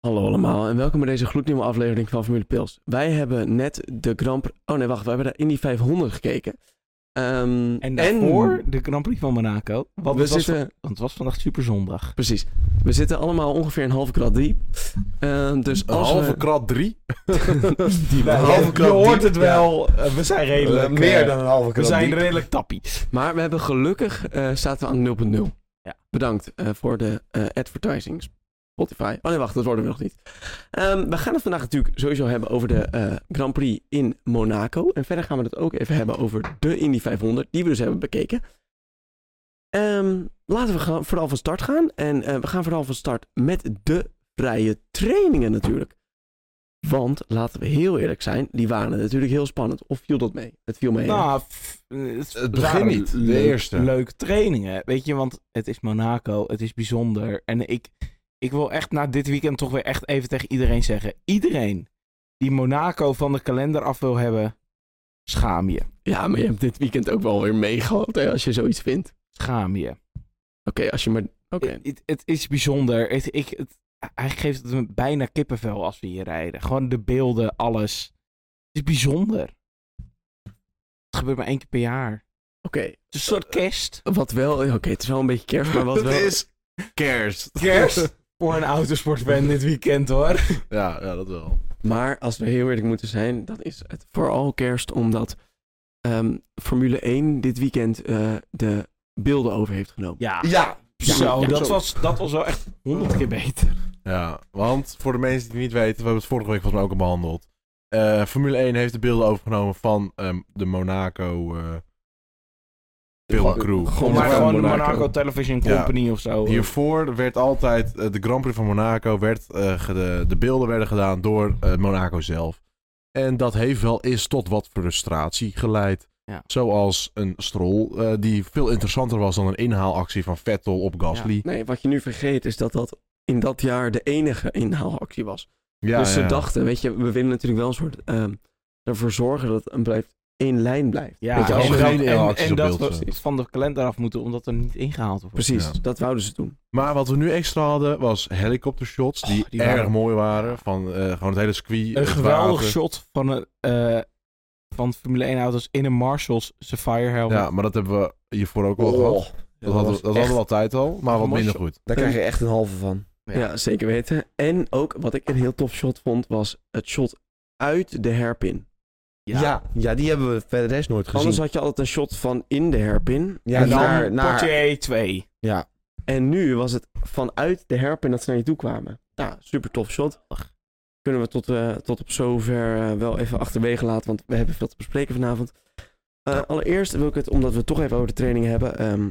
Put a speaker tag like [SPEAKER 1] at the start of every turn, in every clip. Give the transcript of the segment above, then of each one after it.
[SPEAKER 1] Hallo allemaal en welkom bij deze gloednieuwe aflevering van Formule Pils. Wij hebben net de Grand Prix... Oh nee, wacht. We hebben de Indy 500 gekeken. Ehm,
[SPEAKER 2] En daarvoor de Grand Prix van Monaco. Want,
[SPEAKER 1] we
[SPEAKER 2] het, was
[SPEAKER 1] zitten...
[SPEAKER 2] van- want het was vandaag superzondag.
[SPEAKER 1] Precies. We zitten allemaal ongeveer een halve krat diep. Ehm, dus
[SPEAKER 3] Een
[SPEAKER 1] als
[SPEAKER 3] halve
[SPEAKER 1] we...
[SPEAKER 3] krat drie?
[SPEAKER 2] Nou,
[SPEAKER 3] Een
[SPEAKER 2] je-
[SPEAKER 3] halve
[SPEAKER 2] je,
[SPEAKER 3] krat
[SPEAKER 2] hoort
[SPEAKER 3] diep,
[SPEAKER 2] het
[SPEAKER 3] ja.
[SPEAKER 2] wel. eh, we zijn redelijk.
[SPEAKER 3] Eh, meer
[SPEAKER 2] eh,
[SPEAKER 3] dan een halve
[SPEAKER 2] we
[SPEAKER 3] krat
[SPEAKER 2] zijn
[SPEAKER 3] diep.
[SPEAKER 2] redelijk tappie.
[SPEAKER 1] Maar we hebben gelukkig... eh zaten we aan 0.0.
[SPEAKER 2] Ja.
[SPEAKER 1] Bedankt eh, voor de eh advertising. Spotify. Oh nee, wacht. Dat worden we nog niet. Ehm, we gaan het vandaag natuurlijk sowieso hebben over de eh, Grand Prix in Monaco. En verder gaan we het ook even hebben over de Indy 500. Die we dus hebben bekeken. Ehm, laten we gaan, vooral van start gaan. En eh, we gaan vooral van start met de vrije trainingen natuurlijk. Want laten we heel eerlijk zijn, die waren natuurlijk heel spannend. Of viel dat mee? Het viel mee. hè?
[SPEAKER 2] Nou, f- het,
[SPEAKER 3] Het begin
[SPEAKER 2] waren
[SPEAKER 3] niet, de
[SPEAKER 2] leuk-
[SPEAKER 3] eerste.
[SPEAKER 2] Leuke trainingen. Weet je, want het is Monaco. Het is bijzonder. En ik, ik wil echt na dit weekend toch weer echt even tegen iedereen zeggen. Iedereen die Monaco van de kalender af wil hebben, schaam je.
[SPEAKER 1] Ja, maar je hebt dit weekend ook wel weer meegehad hè, als je zoiets vindt. Oké,
[SPEAKER 2] Schaam je.
[SPEAKER 1] als je maar... Oké.
[SPEAKER 2] Het, het- het is bijzonder. Het, ik, het, hij geeft het me bijna kippenvel als we hier rijden. Gewoon de beelden, alles. Het is bijzonder. Het gebeurt maar één keer per jaar. Het
[SPEAKER 1] Oké,
[SPEAKER 2] is een soort kerst.
[SPEAKER 1] wat wel... Oké, het is wel een beetje kerst, maar wat
[SPEAKER 3] Het
[SPEAKER 1] wel...
[SPEAKER 3] is kerst.
[SPEAKER 2] Kerst? Voor een autosportfan dit weekend hoor.
[SPEAKER 3] ja, ja, dat wel.
[SPEAKER 1] Maar als we heel eerlijk moeten zijn, dan is het vooral kerst omdat ehm, Formule 1 dit weekend eh, de beelden over heeft genomen.
[SPEAKER 2] Ja.
[SPEAKER 3] Ja.
[SPEAKER 2] Zo,
[SPEAKER 1] ja,
[SPEAKER 2] dat,
[SPEAKER 1] zo.
[SPEAKER 2] Was, dat was wel echt honderd keer beter.
[SPEAKER 3] Ja, want voor de mensen die het niet weten, we hebben het vorige week volgens mij ook al behandeld. Eh, Formule 1 heeft de beelden overgenomen van ehm, de Monaco eh filmcrew.
[SPEAKER 1] Gewoon maar
[SPEAKER 2] maar
[SPEAKER 1] van
[SPEAKER 2] gewoon de
[SPEAKER 1] Monaco.
[SPEAKER 2] Monaco Television
[SPEAKER 3] Ja.
[SPEAKER 2] Company of zo.
[SPEAKER 3] Hiervoor werd altijd eh, de Grand Prix van Monaco, werd, eh, ge- de, de beelden werden gedaan door eh, Monaco zelf. En dat heeft wel eens tot wat frustratie geleid.
[SPEAKER 2] Ja.
[SPEAKER 3] Zoals een strol eh, die veel interessanter was dan een inhaalactie van Vettel op Gasly.
[SPEAKER 1] Nee, wat je nu vergeet is dat dat in dat jaar de enige inhaalactie was.
[SPEAKER 3] Ja,
[SPEAKER 1] dus ze
[SPEAKER 3] ja.
[SPEAKER 1] dachten, weet je, we willen natuurlijk wel een soort ehm, ervoor zorgen dat het een blijft, één lijn blijft.
[SPEAKER 2] Ja,
[SPEAKER 1] Weet je,
[SPEAKER 3] als
[SPEAKER 2] en,
[SPEAKER 1] we
[SPEAKER 3] geen
[SPEAKER 2] dat- en-
[SPEAKER 3] interacties
[SPEAKER 2] en
[SPEAKER 3] op
[SPEAKER 2] dat
[SPEAKER 3] beeld
[SPEAKER 2] we
[SPEAKER 3] zijn.
[SPEAKER 2] het van de kalender af moeten omdat er niet ingehaald wordt.
[SPEAKER 1] Precies,
[SPEAKER 3] Ja.
[SPEAKER 1] dat wouden ze doen.
[SPEAKER 3] Maar wat we nu extra hadden was helikoptershots die,
[SPEAKER 2] Oh, die
[SPEAKER 3] erg
[SPEAKER 2] waren-
[SPEAKER 3] mooi waren. Van eh, gewoon het hele circuit.
[SPEAKER 2] Een
[SPEAKER 3] het
[SPEAKER 2] geweldig
[SPEAKER 3] water.
[SPEAKER 2] shot van, een, eh, van Formule 1 auto's in een Marshalls Sapphire helmet.
[SPEAKER 3] Ja, maar dat hebben we hiervoor ook
[SPEAKER 2] Oh,
[SPEAKER 3] al
[SPEAKER 1] Oh,
[SPEAKER 3] gehad. Dat, hadden, we- dat hadden we altijd al, maar wat minder goed.
[SPEAKER 4] Daar krijg je echt een halve van.
[SPEAKER 1] Ja. zeker weten. En ook wat ik een heel tof shot vond, was het shot uit de herpin.
[SPEAKER 4] Ja, ja, die hebben we verder rest nooit gezien.
[SPEAKER 1] Anders had je altijd een shot van in de herpin.
[SPEAKER 4] Ja,
[SPEAKER 2] en dan
[SPEAKER 4] naar-
[SPEAKER 2] naar,
[SPEAKER 4] naar-
[SPEAKER 2] 2.
[SPEAKER 4] Ja,
[SPEAKER 1] En nu was het vanuit de herpin dat ze naar je toe kwamen. Ja, super tof shot. Kunnen we tot, eh, tot op zover eh, wel even achterwege laten, want we hebben veel te bespreken vanavond. Eh, Allereerst wil ik het, omdat we het toch even over de training hebben, ehm,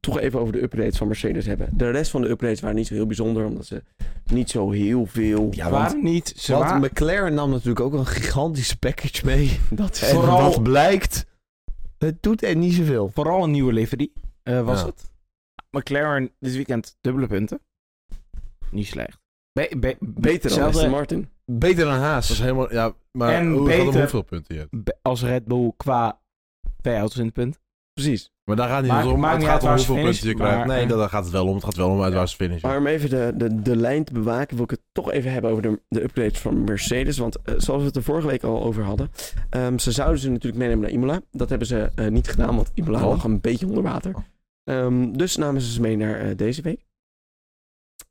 [SPEAKER 1] toch even over de upgrades van Mercedes hebben. De rest van de upgrades waren niet zo heel bijzonder, omdat ze niet zo heel veel...
[SPEAKER 4] ja want,
[SPEAKER 2] waren niet. Ze
[SPEAKER 4] want
[SPEAKER 2] waren,
[SPEAKER 4] McLaren nam natuurlijk ook een gigantische package mee.
[SPEAKER 1] Dat is
[SPEAKER 4] En
[SPEAKER 2] Vooral-
[SPEAKER 4] wat blijkt, het doet er niet zoveel.
[SPEAKER 2] vooral een nieuwe livery eh, was
[SPEAKER 3] Ja.
[SPEAKER 2] het. McLaren dit weekend dubbele punten. Niet slecht. Be- be-
[SPEAKER 1] beter dan
[SPEAKER 2] zelfde-
[SPEAKER 1] Aston Martin.
[SPEAKER 4] Beter dan
[SPEAKER 3] Dat is
[SPEAKER 4] Haas.
[SPEAKER 3] helemaal, ja, maar
[SPEAKER 2] En
[SPEAKER 3] hoe-
[SPEAKER 2] beter.
[SPEAKER 3] hoeveel punten je hebt.
[SPEAKER 2] be- als Red Bull qua twee auto's in het punt.
[SPEAKER 1] Precies.
[SPEAKER 3] Maar daar gaat niet
[SPEAKER 2] Maakt-
[SPEAKER 3] om.
[SPEAKER 2] maakt
[SPEAKER 3] het
[SPEAKER 2] niet
[SPEAKER 3] gaat
[SPEAKER 2] uit
[SPEAKER 3] om
[SPEAKER 2] waar ze
[SPEAKER 3] hoeveel punten je
[SPEAKER 2] finishen,
[SPEAKER 3] krijgt.
[SPEAKER 2] maar-
[SPEAKER 3] Nee, daar daar gaat het wel om. Het gaat wel om uit waar ze finishen.
[SPEAKER 1] Maar om even de, de, de lijn te bewaken, wil ik het toch even hebben over de, de upgrades van Mercedes. Want eh, zoals we het er vorige week al over hadden, ehm, ze zouden ze natuurlijk meenemen naar Imola. Dat hebben ze eh, niet gedaan, want Imola
[SPEAKER 3] Oh.
[SPEAKER 1] lag een beetje onder water.
[SPEAKER 3] Oh.
[SPEAKER 1] Ehm, dus namen ze ze mee naar eh, deze week.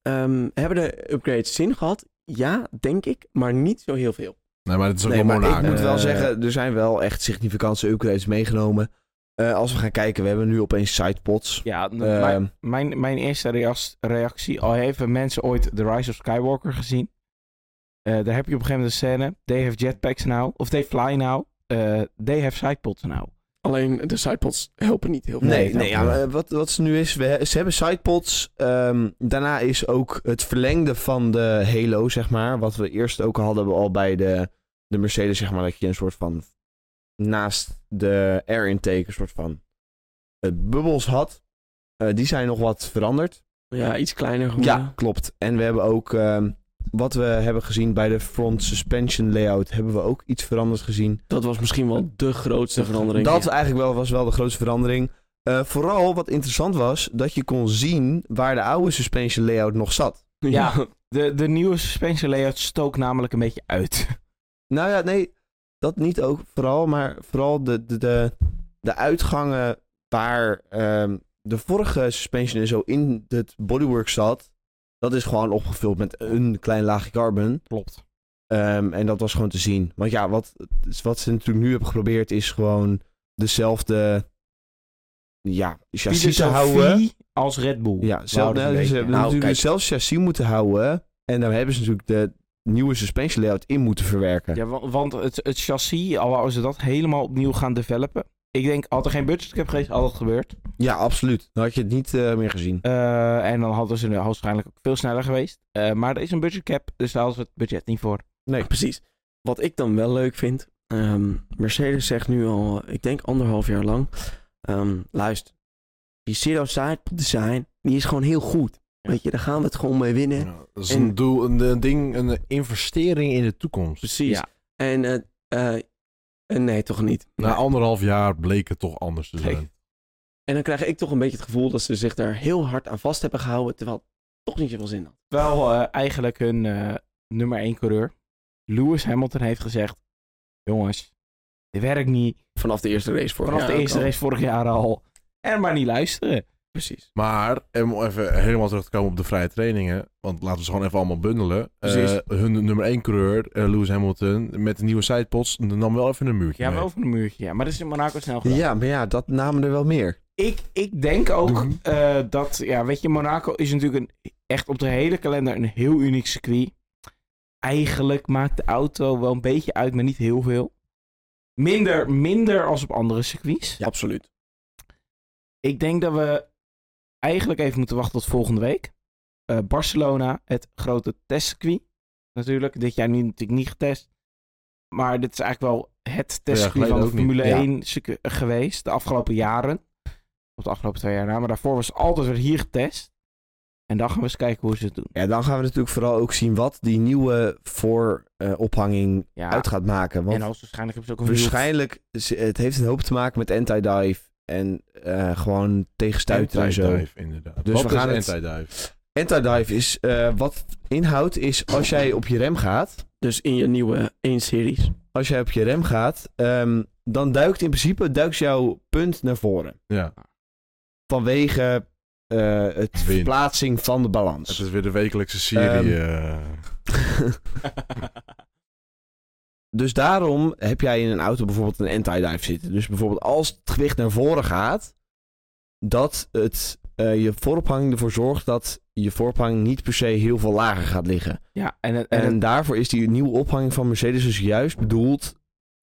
[SPEAKER 1] Ehm, hebben de upgrades zin gehad? Ja, denk ik, maar niet zo heel veel.
[SPEAKER 3] nee, maar het is ook
[SPEAKER 4] Nee,
[SPEAKER 3] wel
[SPEAKER 4] maar
[SPEAKER 3] Monaco.
[SPEAKER 4] ik moet wel
[SPEAKER 2] Eh,
[SPEAKER 4] zeggen, er zijn wel echt significante upgrades meegenomen. Eh, als we gaan kijken, we hebben nu opeens sidepods.
[SPEAKER 2] Ja, n-
[SPEAKER 4] Ehm,
[SPEAKER 2] mijn, mijn, mijn eerste reas- reactie. Al hebben mensen ooit The Rise of Skywalker gezien. Eh, daar heb je op een gegeven moment een scène. They have jetpacks now. Of they fly now. Eh, they have sidepods nou. now.
[SPEAKER 1] Alleen de sidepods helpen niet heel veel.
[SPEAKER 4] Nee, nee ja,
[SPEAKER 3] wel.
[SPEAKER 4] maar, eh, wat, wat ze nu is, we, he- ze hebben sidepods. ehm, daarna is ook het verlengde van de Halo, zeg maar. Wat we eerst ook hadden we al bij de, de Mercedes, zeg maar. Dat je een soort van, naast de air intake, een soort van eh, bubbels had. Eh, die zijn nog wat veranderd.
[SPEAKER 1] Ja, iets kleiner geworden.
[SPEAKER 4] Ja, klopt. En we hebben ook, ehm, wat we hebben gezien bij de front suspension layout, hebben we ook iets veranderd gezien.
[SPEAKER 1] Dat was misschien wel de grootste verandering.
[SPEAKER 4] Dat eigenlijk wel, was wel de grootste verandering. Eh, vooral wat interessant was, dat je kon zien waar de oude suspension layout nog zat.
[SPEAKER 2] Ja. De, de nieuwe suspension layout stookt namelijk een beetje uit.
[SPEAKER 4] Nou ja, nee, dat niet ook vooral, maar vooral de, de, de, de uitgangen waar ehm, de vorige suspension en zo in het bodywork zat, dat is gewoon opgevuld met een klein laagje carbon.
[SPEAKER 2] Klopt.
[SPEAKER 4] Ehm, en dat was gewoon te zien. Want ja, wat, wat ze natuurlijk nu hebben geprobeerd is gewoon dezelfde ja, chassis te houden.
[SPEAKER 2] dus als Red Bull.
[SPEAKER 4] Ja, zelf,
[SPEAKER 2] houden
[SPEAKER 4] nou,
[SPEAKER 2] het
[SPEAKER 4] ze
[SPEAKER 2] een
[SPEAKER 4] hebben
[SPEAKER 2] beetje. Nou,
[SPEAKER 4] natuurlijk
[SPEAKER 2] kijk.
[SPEAKER 4] zelfs chassis moeten houden. En daar hebben ze natuurlijk de nieuwe suspension layout in moeten verwerken.
[SPEAKER 2] Ja, wa- want het, het chassis, al wouden ze dat helemaal opnieuw gaan developen. Ik denk, had er geen budget cap geweest, had dat gebeurd.
[SPEAKER 4] Ja, absoluut. Dan had je het niet eh, meer gezien.
[SPEAKER 2] Eh, en dan hadden ze nu waarschijnlijk ook veel sneller geweest. Eh, maar er is een budget cap, dus daar hadden ze het budget niet voor.
[SPEAKER 1] Nee, precies. Wat ik dan wel leuk vind, ehm, Mercedes zegt nu al, eh, ik denk anderhalf jaar lang, ehm, luister, die zero-side design, die is gewoon heel goed. Weet je, daar gaan we het gewoon mee winnen.
[SPEAKER 3] Ja, dat is
[SPEAKER 1] En-
[SPEAKER 3] een, doel, een, een ding, een investering in de toekomst.
[SPEAKER 1] Precies.
[SPEAKER 2] Ja.
[SPEAKER 1] En eh, eh, eh, nee, toch niet.
[SPEAKER 3] Na anderhalf jaar bleek het toch anders te zijn.
[SPEAKER 2] Nee.
[SPEAKER 1] En dan krijg ik toch een beetje het gevoel dat ze zich daar heel hard aan vast hebben gehouden, terwijl het toch niet zoveel zin had.
[SPEAKER 2] Wel eh, eigenlijk hun eh, nummer 1 coureur, Lewis Hamilton, heeft gezegd: Jongens, dit werkt niet.
[SPEAKER 1] Vanaf de eerste race voor
[SPEAKER 2] Vanaf de eerste
[SPEAKER 1] ook al.
[SPEAKER 2] race vorig jaar al. En maar niet luisteren.
[SPEAKER 1] Precies.
[SPEAKER 3] Maar, en om even helemaal terug te komen op de vrije trainingen, want laten we ze gewoon even allemaal bundelen. Eh,
[SPEAKER 1] Precies.
[SPEAKER 3] hun nummer 1 coureur, eh, Lewis Hamilton, met de nieuwe sidepods, nam wel even een muurtje
[SPEAKER 2] Ja,
[SPEAKER 3] mee.
[SPEAKER 2] maar over een muurtje. Ja. Maar dat is in Monaco snel gedaan.
[SPEAKER 4] Ja, maar ja, dat namen er wel meer.
[SPEAKER 2] Ik, ik denk ook
[SPEAKER 3] Doen.
[SPEAKER 2] eh, dat, ja, weet je, Monaco is natuurlijk een, echt op de hele kalender een heel uniek circuit. Eigenlijk maakt de auto wel een beetje uit, maar niet heel veel. Minder, minder als op andere circuits.
[SPEAKER 1] Ja, absoluut.
[SPEAKER 2] Ik denk dat we eigenlijk even moeten wachten tot volgende week. Eh, Barcelona, het grote testcircuit. Natuurlijk, dit jaar nu natuurlijk niet getest. Maar dit is eigenlijk wel het testcircuit
[SPEAKER 3] geleden
[SPEAKER 2] van de
[SPEAKER 3] ook
[SPEAKER 2] Formule
[SPEAKER 3] niet. Ja.
[SPEAKER 2] 1 circuit geweest de afgelopen jaren. Of de afgelopen twee jaar na. Maar daarvoor was altijd weer hier getest. En dan gaan we eens kijken hoe ze het doen.
[SPEAKER 4] Ja, dan gaan we natuurlijk vooral ook zien wat die nieuwe voorophanging
[SPEAKER 2] Ja,
[SPEAKER 4] uit gaat maken. Want
[SPEAKER 2] en hoogstwaarschijnlijk hebben ze ook een
[SPEAKER 4] waarschijnlijk, is- het heeft een hoop te maken met anti-dive en eh, gewoon tegenstuiten en zo.
[SPEAKER 3] Anti-dive, inderdaad.
[SPEAKER 4] Dus
[SPEAKER 3] Wat
[SPEAKER 4] we
[SPEAKER 3] is
[SPEAKER 4] gaan het-
[SPEAKER 3] anti-dive?
[SPEAKER 4] Anti-dive is, eh, wat inhoudt is als jij op je rem gaat,
[SPEAKER 1] Dus in je nieuwe 1-series.
[SPEAKER 4] als jij op je rem gaat, ehm, dan duikt in principe duikt jouw punt naar voren.
[SPEAKER 3] Ja,
[SPEAKER 4] Vanwege eh, het
[SPEAKER 3] Wind.
[SPEAKER 4] verplaatsing van de
[SPEAKER 3] het
[SPEAKER 4] balans.
[SPEAKER 3] is weer de wekelijkse serie. eh,
[SPEAKER 4] Dus daarom heb jij in een auto bijvoorbeeld een anti-dive zitten. Dus bijvoorbeeld als het gewicht naar voren gaat, dat het, eh, je voorophanging ervoor zorgt dat je voorophanging niet per se heel veel lager gaat liggen.
[SPEAKER 2] Ja, en, het- en,
[SPEAKER 4] En,
[SPEAKER 2] het-
[SPEAKER 4] daarvoor is die nieuwe ophanging van Mercedes dus juist bedoeld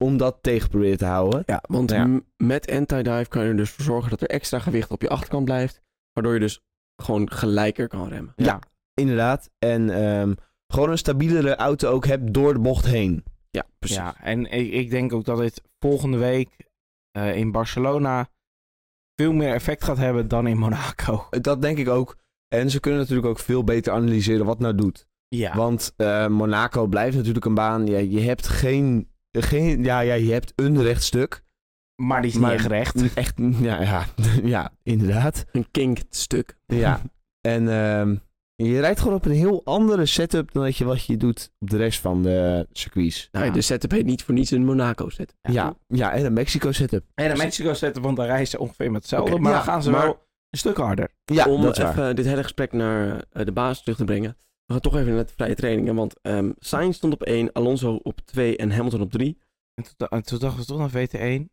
[SPEAKER 4] om dat tegen te proberen te houden.
[SPEAKER 1] Ja, want
[SPEAKER 4] Ja.
[SPEAKER 1] m- met anti-dive kan je er dus voor zorgen dat er extra gewicht op je achterkant blijft. Waardoor je dus gewoon gelijker kan remmen.
[SPEAKER 4] Ja. Inderdaad. En ehm, gewoon een stabielere auto ook hebt door de bocht heen.
[SPEAKER 1] Ja, precies.
[SPEAKER 2] Ja, en ik, ik denk ook dat dit volgende week eh, in Barcelona veel meer effect gaat hebben dan in Monaco.
[SPEAKER 4] Dat denk ik ook. En ze kunnen natuurlijk ook veel beter analyseren wat nou doet.
[SPEAKER 2] Ja.
[SPEAKER 4] Want eh, Monaco blijft natuurlijk een baan. Ja, je hebt geen, geen. Ja, ja, je hebt een rechtstuk.
[SPEAKER 2] maar die is
[SPEAKER 4] maar-
[SPEAKER 2] niet echt recht.
[SPEAKER 4] Echt. Ja, ja, ja inderdaad.
[SPEAKER 1] Een kinkt stuk.
[SPEAKER 4] Ja. En ehm, je rijdt gewoon op een heel andere setup dan dat je wat je doet op de rest van de circuits.
[SPEAKER 1] Nou,
[SPEAKER 2] Ja.
[SPEAKER 1] De setup heet niet voor niets een Monaco set.
[SPEAKER 4] Ja, ja, en een Mexico setup.
[SPEAKER 2] En in Mexico zetten, want daar reizen ze ongeveer met hetzelfde.
[SPEAKER 4] Oké,
[SPEAKER 2] maar
[SPEAKER 4] ja,
[SPEAKER 2] dan gaan ze
[SPEAKER 4] maar-
[SPEAKER 2] wel een stuk harder.
[SPEAKER 4] Ja,
[SPEAKER 1] Om
[SPEAKER 4] dat is waar.
[SPEAKER 1] even dit hele gesprek naar eh, de baas terug te brengen. We gaan toch even naar de vrije trainingen. Want ehm Sainz stond op 1, Alonso op 2 en Hamilton op 3.
[SPEAKER 2] En toen, en toen dachten we toch naar VT1.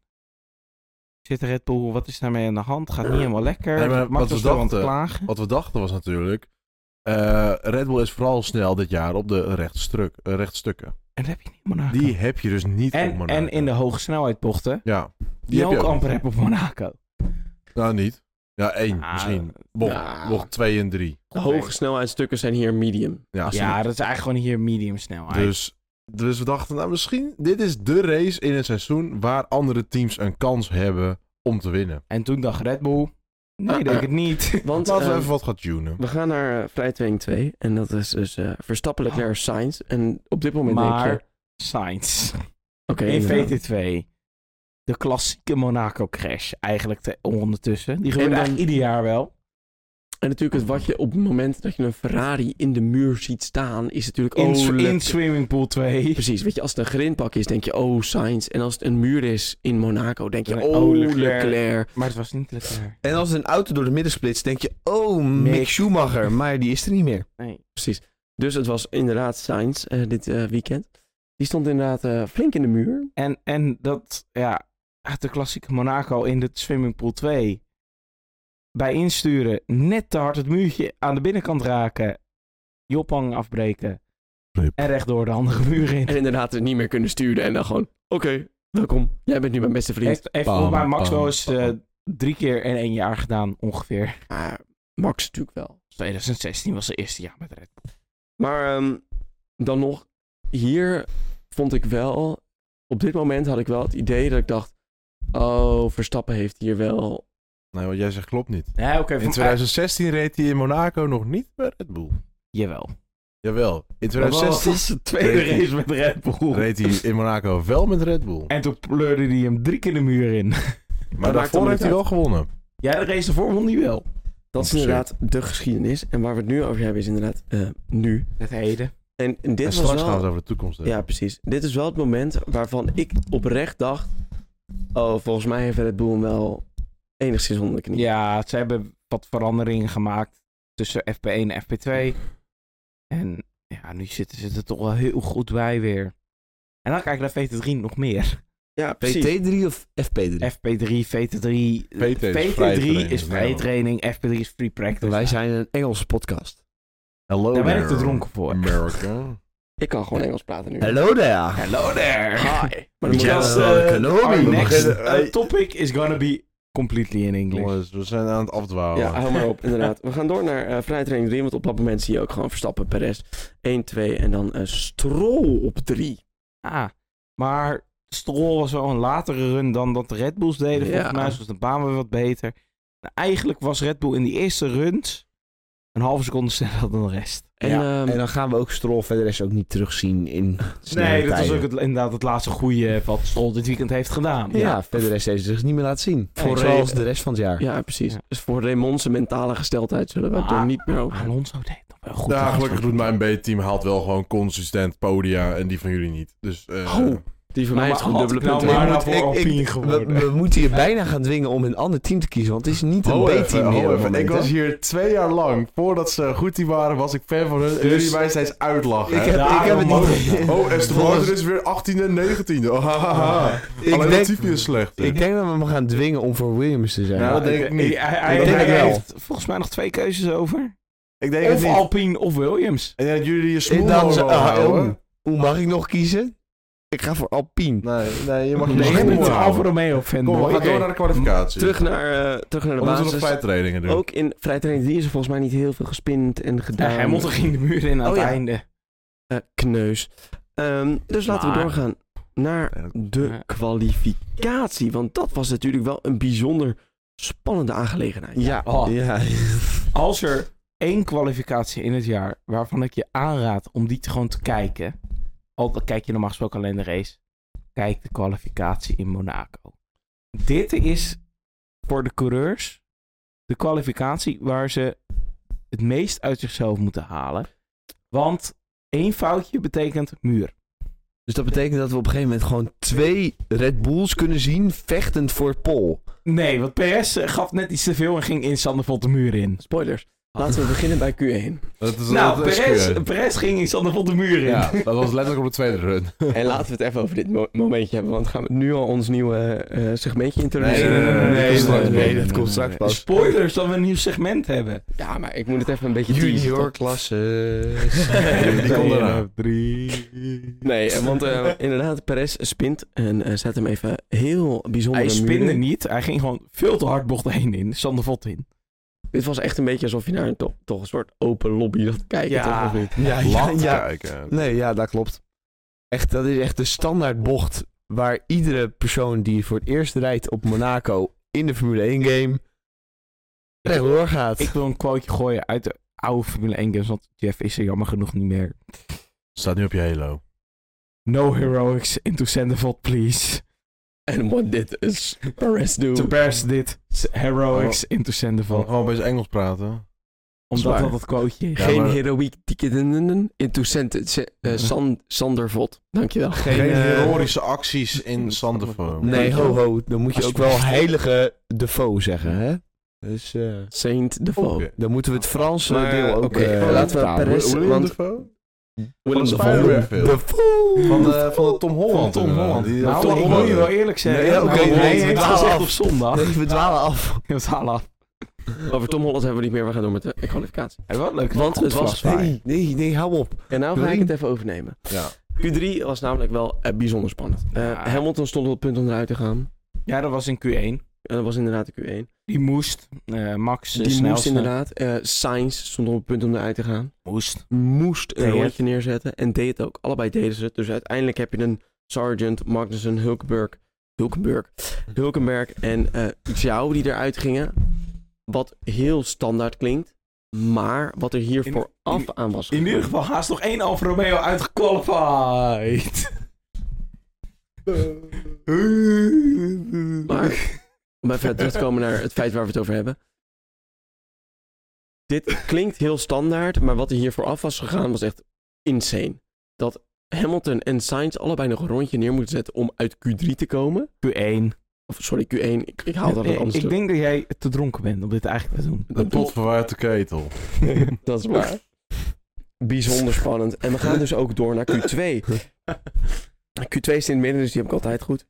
[SPEAKER 2] Zit de Red Bull, wat is daarmee aan de hand? Gaat niet helemaal lekker.
[SPEAKER 3] Nee, maar
[SPEAKER 2] Max
[SPEAKER 3] wat eh, we
[SPEAKER 2] was wel aan het
[SPEAKER 3] dachten-
[SPEAKER 2] klagen.
[SPEAKER 3] Wat we dachten was natuurlijk, eh, Red Bull is vooral snel dit jaar op de rechtstruk, eh, rechtstukken.
[SPEAKER 2] En dat heb je niet in Monaco.
[SPEAKER 3] Die heb je dus niet op
[SPEAKER 2] en,
[SPEAKER 3] Monaco.
[SPEAKER 2] en in de hoge snelheidbochten.
[SPEAKER 3] Ja,
[SPEAKER 2] Die,
[SPEAKER 3] heb je
[SPEAKER 2] ook
[SPEAKER 3] ook.
[SPEAKER 2] amper hebben op Monaco.
[SPEAKER 3] nou niet. Ja, één
[SPEAKER 2] Ah,
[SPEAKER 3] misschien. Bocht,
[SPEAKER 1] ja.
[SPEAKER 3] bocht twee en drie.
[SPEAKER 1] De hoge snelheidsstukken zijn hier medium.
[SPEAKER 3] Ja,
[SPEAKER 2] Ja, dat is eigenlijk gewoon hier medium snelheid.
[SPEAKER 3] Dus, dus we dachten, nou misschien, dit is de race in het seizoen waar andere teams een kans hebben om te winnen.
[SPEAKER 2] En toen dacht Red Bull, nee, denk het niet.
[SPEAKER 1] Want
[SPEAKER 3] Laten we
[SPEAKER 1] ehm,
[SPEAKER 3] even wat gaan tunen.
[SPEAKER 1] we gaan naar eh, vrije training 2. En dat is dus eh Verstappen, Leclerc, Sainz. En op dit moment
[SPEAKER 2] maar
[SPEAKER 1] denk je...
[SPEAKER 2] Sainz.
[SPEAKER 1] Oké,
[SPEAKER 2] In
[SPEAKER 1] inderdaad.
[SPEAKER 2] VT2. De klassieke Monaco crash eigenlijk te, ondertussen. Die gebeurt
[SPEAKER 1] dan-
[SPEAKER 2] eigenlijk ieder jaar wel.
[SPEAKER 1] En natuurlijk het wat je op het moment dat je een Ferrari in de muur ziet staan, is natuurlijk...
[SPEAKER 2] In,
[SPEAKER 1] oh,
[SPEAKER 2] in
[SPEAKER 1] lekker.
[SPEAKER 2] Swimmingpool 2.
[SPEAKER 1] Precies, weet je, als het een grindpak is, denk je, oh, Sainz. En als het een muur is in Monaco, denk je,
[SPEAKER 2] Dan-
[SPEAKER 1] oh,
[SPEAKER 2] oh,
[SPEAKER 1] Leclerc.
[SPEAKER 2] Leclerc. Maar het was niet lekker.
[SPEAKER 4] En als een auto door de midden splitst, denk je, oh, Mick,
[SPEAKER 2] Mick.
[SPEAKER 4] Schumacher, maar die is er niet meer.
[SPEAKER 2] Nee.
[SPEAKER 1] Precies. Dus het was inderdaad Sainz eh, dit eh, weekend. Die stond inderdaad eh, flink in de muur.
[SPEAKER 2] En, en dat, ja, uit de klassieke Monaco in de swimmingpool 2. Bij insturen net te hard het muurtje aan de binnenkant raken. Jophang afbreken.
[SPEAKER 3] Yep.
[SPEAKER 2] En rechtdoor de handige muur in.
[SPEAKER 1] En inderdaad het niet meer kunnen sturen. En dan gewoon, oké, welkom. Jij bent nu mijn beste vriend.
[SPEAKER 2] Heeft, heeft
[SPEAKER 3] Bam,
[SPEAKER 2] volgens mij Max
[SPEAKER 3] bam,
[SPEAKER 2] wel eens
[SPEAKER 3] bam.
[SPEAKER 2] eh, drie keer in één jaar gedaan, ongeveer.
[SPEAKER 1] Maar Max natuurlijk wel.
[SPEAKER 2] 2016 was zijn eerste jaar met Red Bull.
[SPEAKER 1] Maar ehm, dan nog, hier vond ik wel, op dit moment had ik wel het idee dat ik dacht, oh, Verstappen heeft hier wel...
[SPEAKER 3] Nee, wat jij zegt klopt niet.
[SPEAKER 2] Nee, oké.
[SPEAKER 3] In
[SPEAKER 2] van-
[SPEAKER 3] 2016 reed hij in Monaco nog niet bij Red Bull.
[SPEAKER 2] eh, jawel.
[SPEAKER 3] Jawel. In
[SPEAKER 2] Dat
[SPEAKER 3] 2016
[SPEAKER 2] was de tweede
[SPEAKER 3] Reed hij-
[SPEAKER 2] race met Red Bull.
[SPEAKER 3] reed hij in Monaco wel met Red Bull.
[SPEAKER 2] En toen pleurde hij hem drie keer de muur in.
[SPEAKER 3] Maar
[SPEAKER 1] maakt
[SPEAKER 3] daarvoor
[SPEAKER 1] allemaal
[SPEAKER 3] heeft hij wel gewonnen.
[SPEAKER 2] Ja, de race ervoor won hij wel.
[SPEAKER 1] Dat is inderdaad de geschiedenis. En waar we het nu over hebben is inderdaad eh, nu.
[SPEAKER 2] Het heden.
[SPEAKER 1] En dit
[SPEAKER 3] en
[SPEAKER 1] was
[SPEAKER 3] straks
[SPEAKER 1] wel...
[SPEAKER 3] gaan ze over de toekomst hebben.
[SPEAKER 1] Ja, precies. Dit is wel het moment waarvan ik oprecht dacht... Oh, volgens mij heeft Red Bull hem wel enigszins onder de knie.
[SPEAKER 2] Ja, ze hebben wat veranderingen gemaakt tussen FP1 en FP2. En ja, nu zitten ze er toch wel heel goed bij weer. En dan kijk ik naar VT3 nog meer.
[SPEAKER 1] Ja, precies.
[SPEAKER 4] PT3 of FP3?
[SPEAKER 2] FP3 VT3.
[SPEAKER 3] VT is
[SPEAKER 2] VT3
[SPEAKER 3] vrijtraining.
[SPEAKER 2] is vrije training. FP3 is free practice.
[SPEAKER 4] Wij zijn een Engelse podcast.
[SPEAKER 3] Hello
[SPEAKER 2] Daar ben ik te
[SPEAKER 3] there,
[SPEAKER 2] dronken voor.
[SPEAKER 3] America.
[SPEAKER 1] Ik kan gewoon Engels praten nu.
[SPEAKER 4] Hello there.
[SPEAKER 2] Hello there.
[SPEAKER 1] Hi. Maar dan moet
[SPEAKER 2] Yes.
[SPEAKER 1] je wel-
[SPEAKER 2] Yes. eh,
[SPEAKER 4] Kenobi.
[SPEAKER 2] Our next
[SPEAKER 3] beginnen.
[SPEAKER 2] uh, topic is gonna be completely in English.
[SPEAKER 3] Jongens, we zijn aan het
[SPEAKER 2] Oh.
[SPEAKER 3] afdwalen.
[SPEAKER 1] Ja, hou maar op, inderdaad. We gaan door naar eh vrije training 3, want op dat moment zie je ook gewoon Verstappen, Perez 1, 2 en dan een strol op 3.
[SPEAKER 2] Ah, maar Stroll was wel een latere run dan dat de Red Bulls deden.
[SPEAKER 1] Ja.
[SPEAKER 2] Volgens mij was de baan weer wat beter. Nou, eigenlijk was Red Bull in die eerste runs een halve seconde sneller dan de rest.
[SPEAKER 1] En,
[SPEAKER 4] Ja,
[SPEAKER 1] ehm,
[SPEAKER 4] En dan gaan we ook Stroll verder is ook niet terugzien in snelle
[SPEAKER 2] Nee, dat was
[SPEAKER 4] tijden.
[SPEAKER 2] ook het, inderdaad het laatste goede eh, wat Stroll dit weekend heeft gedaan.
[SPEAKER 4] Ja, verder is deze zich niet meer laten zien.
[SPEAKER 2] Nee,
[SPEAKER 4] Voor
[SPEAKER 2] ik zal-
[SPEAKER 4] zoals de rest van het jaar.
[SPEAKER 1] ja, precies.
[SPEAKER 2] Ja.
[SPEAKER 1] Dus voor Raymond zijn mentale gesteldheid zullen we het er
[SPEAKER 2] Ah.
[SPEAKER 1] niet meer over hebben.
[SPEAKER 2] Alonso deed nog wel goed.
[SPEAKER 3] ja,
[SPEAKER 2] trouwens.
[SPEAKER 3] gelukkig doet mijn B-team haalt wel gewoon consistent podia en die van jullie niet. Dus eh,
[SPEAKER 1] Oh, Die van mij
[SPEAKER 2] Maar
[SPEAKER 1] heeft gewoon
[SPEAKER 2] had
[SPEAKER 1] dubbele
[SPEAKER 2] ik nou
[SPEAKER 1] punten.
[SPEAKER 2] maar
[SPEAKER 4] Ik
[SPEAKER 2] nou
[SPEAKER 4] moet-
[SPEAKER 2] voor
[SPEAKER 4] ik-
[SPEAKER 2] Alpine
[SPEAKER 4] ik- we,
[SPEAKER 2] geworden.
[SPEAKER 4] we moeten je bijna gaan dwingen om een ander team te kiezen, want het is niet een
[SPEAKER 3] Ho
[SPEAKER 4] B-team
[SPEAKER 3] even,
[SPEAKER 4] meer.
[SPEAKER 3] ho
[SPEAKER 4] op
[SPEAKER 3] even.
[SPEAKER 4] het moment,
[SPEAKER 3] Ik was
[SPEAKER 4] hè.
[SPEAKER 3] hier twee jaar lang, voordat ze een goed team waren, was ik fan van hun. En
[SPEAKER 2] Dus-
[SPEAKER 3] jullie mij steeds uitlachen.
[SPEAKER 4] Ik
[SPEAKER 3] hè?
[SPEAKER 4] heb, ik heb
[SPEAKER 2] Daarom
[SPEAKER 4] het
[SPEAKER 2] mag het
[SPEAKER 4] niet.
[SPEAKER 2] niet.
[SPEAKER 3] Oh, Aston
[SPEAKER 4] Volgens-
[SPEAKER 3] Martin is weer 18 en 19e. Oh, ha, ha, ha. Alleen
[SPEAKER 4] denk-
[SPEAKER 3] dat type is slecht. hè?
[SPEAKER 4] Ik denk dat we hem gaan dwingen om voor Williams te zijn.
[SPEAKER 3] Nou, dat denk ik niet.
[SPEAKER 2] Hij, hij-
[SPEAKER 4] Ik denk
[SPEAKER 2] hij
[SPEAKER 4] het wel.
[SPEAKER 2] heeft volgens mij nog twee keuzes over.
[SPEAKER 3] Ik denk het
[SPEAKER 2] Of
[SPEAKER 3] niet.
[SPEAKER 2] Alpine of Williams.
[SPEAKER 3] En dat jullie je
[SPEAKER 4] Ik
[SPEAKER 3] smoel
[SPEAKER 4] dacht,
[SPEAKER 3] mogen
[SPEAKER 4] eh,
[SPEAKER 3] houden.
[SPEAKER 4] oh, Hoe mag ik nog kiezen? Ik ga voor Alpine.
[SPEAKER 3] Nee, nee, je mag
[SPEAKER 4] Nee,
[SPEAKER 3] je
[SPEAKER 4] ik
[SPEAKER 2] ik
[SPEAKER 4] heb
[SPEAKER 3] smoel
[SPEAKER 4] het
[SPEAKER 2] ben
[SPEAKER 3] houden.
[SPEAKER 2] een Alfa Romeo fan.
[SPEAKER 3] Kom, we gaan
[SPEAKER 1] Oké.
[SPEAKER 3] door naar de kwalificatie.
[SPEAKER 1] Terug naar, eh, terug naar de
[SPEAKER 3] Omdat we nog
[SPEAKER 1] basis.
[SPEAKER 3] vijf trainingen doen.
[SPEAKER 1] Ook in vrije training 3 is er volgens mij niet heel veel gespind en gedaan.
[SPEAKER 2] Hij mocht ging de muur in aan
[SPEAKER 1] Oh,
[SPEAKER 2] het
[SPEAKER 1] ja.
[SPEAKER 2] einde.
[SPEAKER 1] Eh, kneus. Ehm, dus laten we
[SPEAKER 2] Maar-
[SPEAKER 1] doorgaan naar de
[SPEAKER 2] Ja.
[SPEAKER 1] kwalificatie. Want dat was natuurlijk wel een bijzonder spannende aangelegenheid.
[SPEAKER 4] Ja.
[SPEAKER 2] Oh.
[SPEAKER 4] ja.
[SPEAKER 2] Als er één kwalificatie in het jaar waarvan ik je aanraad om die te gewoon te kijken. Al dan kijk je normaal gesproken alleen de race. Kijk de kwalificatie in Monaco. Dit is voor de coureurs de kwalificatie waar ze het meest uit zichzelf moeten halen. Want één foutje betekent muur.
[SPEAKER 4] Dus dat betekent dat we op een gegeven moment gewoon twee Red Bulls kunnen zien vechtend voor Pol.
[SPEAKER 2] Nee, want PS gaf net iets te veel en ging in Sander Volt de muur in.
[SPEAKER 1] Spoilers. Laten we beginnen bij Q1.
[SPEAKER 3] Dat is,
[SPEAKER 2] Nou,
[SPEAKER 3] dat is
[SPEAKER 2] Perez,
[SPEAKER 3] kut.
[SPEAKER 2] Perez ging in Sander Volt de muur in.
[SPEAKER 3] Ja, dat was letterlijk op de tweede run.
[SPEAKER 1] En laten we het even over dit mo- momentje hebben. Want gaan we nu al ons nieuwe eh, segmentje introduceren?
[SPEAKER 3] Nee, nee, nee, nee, nee,
[SPEAKER 1] Dus,
[SPEAKER 3] nee,
[SPEAKER 1] eh,
[SPEAKER 3] nee,
[SPEAKER 4] dat komt straks pas.
[SPEAKER 2] Spoilers dat we een nieuw segment hebben.
[SPEAKER 1] Ja, maar ik moet het even een beetje teasen,
[SPEAKER 4] Junior
[SPEAKER 1] toch?
[SPEAKER 4] klasses.
[SPEAKER 3] Die komt eraan.
[SPEAKER 2] Drie.
[SPEAKER 1] Nee, eh, want eh, inderdaad, Perez spint en eh, zet hem even heel bijzonder
[SPEAKER 2] Hij spinde niet. Hij ging gewoon veel te hard bocht heen in. Sander Vot in.
[SPEAKER 1] Dit was echt een beetje alsof je naar een, to- toch een soort open lobby dat kijken, toch? Of niet?
[SPEAKER 4] Ja, ja,
[SPEAKER 3] Laat
[SPEAKER 4] ja.
[SPEAKER 3] kijken.
[SPEAKER 4] Nee, ja, dat klopt. Echt, dat is echt de standaard bocht waar iedere persoon die voor het eerst rijdt op Monaco in de Formule 1 game rechtdoor gaat.
[SPEAKER 2] Ik wil een quoteje gooien uit de oude Formule 1 games. Want Jeff is er jammer genoeg niet meer.
[SPEAKER 3] Staat nu op je
[SPEAKER 4] Oh.
[SPEAKER 3] Halo.
[SPEAKER 2] No heroics into Sander Vot, please.
[SPEAKER 1] En what did is Perez do?
[SPEAKER 2] To Bears dit. Heroics into Sander Vot.
[SPEAKER 3] Oh, Gewoon opeens Engels praten.
[SPEAKER 2] Omdat
[SPEAKER 1] waar.
[SPEAKER 2] dat het quoteje is.
[SPEAKER 3] Ja,
[SPEAKER 1] Geen
[SPEAKER 3] maar-
[SPEAKER 1] heroïek tikkenen into cent- se- eh, San- Sandervot. Dankjewel.
[SPEAKER 3] Geen,
[SPEAKER 4] eh,
[SPEAKER 3] heroïsche acties in Sanderfoam.
[SPEAKER 4] Nee,
[SPEAKER 1] Nee,
[SPEAKER 4] ho, ho. Dan moet je ook wel heilige Defoe zeggen, hè? Dus eh,
[SPEAKER 1] Saint Defoe.
[SPEAKER 3] Oké.
[SPEAKER 4] dan moeten we het Franse
[SPEAKER 3] Maar,
[SPEAKER 4] deel ook...
[SPEAKER 3] oké,
[SPEAKER 4] eh,
[SPEAKER 3] gewoon
[SPEAKER 1] laten we
[SPEAKER 4] vertalen.
[SPEAKER 1] Perez-
[SPEAKER 3] William
[SPEAKER 1] want-
[SPEAKER 3] Dafoe?
[SPEAKER 1] Willem
[SPEAKER 3] Van
[SPEAKER 1] Dafoe.
[SPEAKER 3] Spider-Man film.
[SPEAKER 4] Defoe!
[SPEAKER 3] Van, eh, van de Tom Holland.
[SPEAKER 2] Tom
[SPEAKER 3] inderdaad.
[SPEAKER 2] Holland.
[SPEAKER 3] Die-
[SPEAKER 2] Nou,
[SPEAKER 3] Tom
[SPEAKER 2] ik
[SPEAKER 3] Holland.
[SPEAKER 2] moet je wel eerlijk
[SPEAKER 4] Nee,
[SPEAKER 2] zeggen.
[SPEAKER 4] oké,
[SPEAKER 2] nou,
[SPEAKER 4] nee,
[SPEAKER 2] hij
[SPEAKER 4] ik
[SPEAKER 2] heeft
[SPEAKER 4] dwaal
[SPEAKER 2] gezegd
[SPEAKER 4] af.
[SPEAKER 2] op zondag.
[SPEAKER 4] Nee, we dwalen af.
[SPEAKER 2] Dat is al af.
[SPEAKER 1] Over Tom Holland hebben we niet meer. We gaan door met de kwalificatie.
[SPEAKER 2] Hey, wat leuk.
[SPEAKER 1] Want het was-
[SPEAKER 2] vastwaar.
[SPEAKER 4] nee, nee, hou op.
[SPEAKER 1] En nou ga ik
[SPEAKER 4] Jorien.
[SPEAKER 1] het even overnemen.
[SPEAKER 3] Ja.
[SPEAKER 1] Q3 was namelijk wel eh, bijzonder spannend. Eh,
[SPEAKER 2] Ja.
[SPEAKER 1] Hamilton stond op het punt om eruit te gaan.
[SPEAKER 2] Ja, dat was in Q1.
[SPEAKER 1] En dat was inderdaad de Q1.
[SPEAKER 2] Die moest. eh, Max
[SPEAKER 1] Die
[SPEAKER 2] snelste.
[SPEAKER 1] moest inderdaad. eh Sainz stond op het punt om eruit te gaan.
[SPEAKER 2] Moest.
[SPEAKER 1] moest een
[SPEAKER 2] Deed het.
[SPEAKER 1] rondje neerzetten. En deed het ook. Allebei deden ze het. Dus uiteindelijk heb je een Sargent, Magnussen, Hulkenberg. Hulkenberg. Hulkenberg en eh Zhao die eruit gingen. Wat heel standaard klinkt. Maar wat er hier
[SPEAKER 2] In-
[SPEAKER 1] vooraf aan was.
[SPEAKER 2] In ieder
[SPEAKER 1] gegaan.
[SPEAKER 2] geval haast nog één Alfa Romeo uitgequalified.
[SPEAKER 1] Maar- Om even terug te komen naar het feit waar we het over hebben. Dit klinkt heel standaard, maar wat er hier vooraf was gegaan was echt insane. Dat Hamilton en Sainz allebei nog een rondje neer moeten zetten om uit Q3 te komen.
[SPEAKER 2] Q1.
[SPEAKER 1] Of sorry, Q1. Ik, ik haal dat ook anders
[SPEAKER 2] eh, ik
[SPEAKER 1] terug.
[SPEAKER 2] denk dat jij te dronken bent om dit eigenlijk te doen.
[SPEAKER 3] De pot verwaart de ketel.
[SPEAKER 1] Dat is waar. Bijzonder spannend. En we gaan dus ook door naar Q2. Q2 is in het midden, dus die heb ik altijd goed.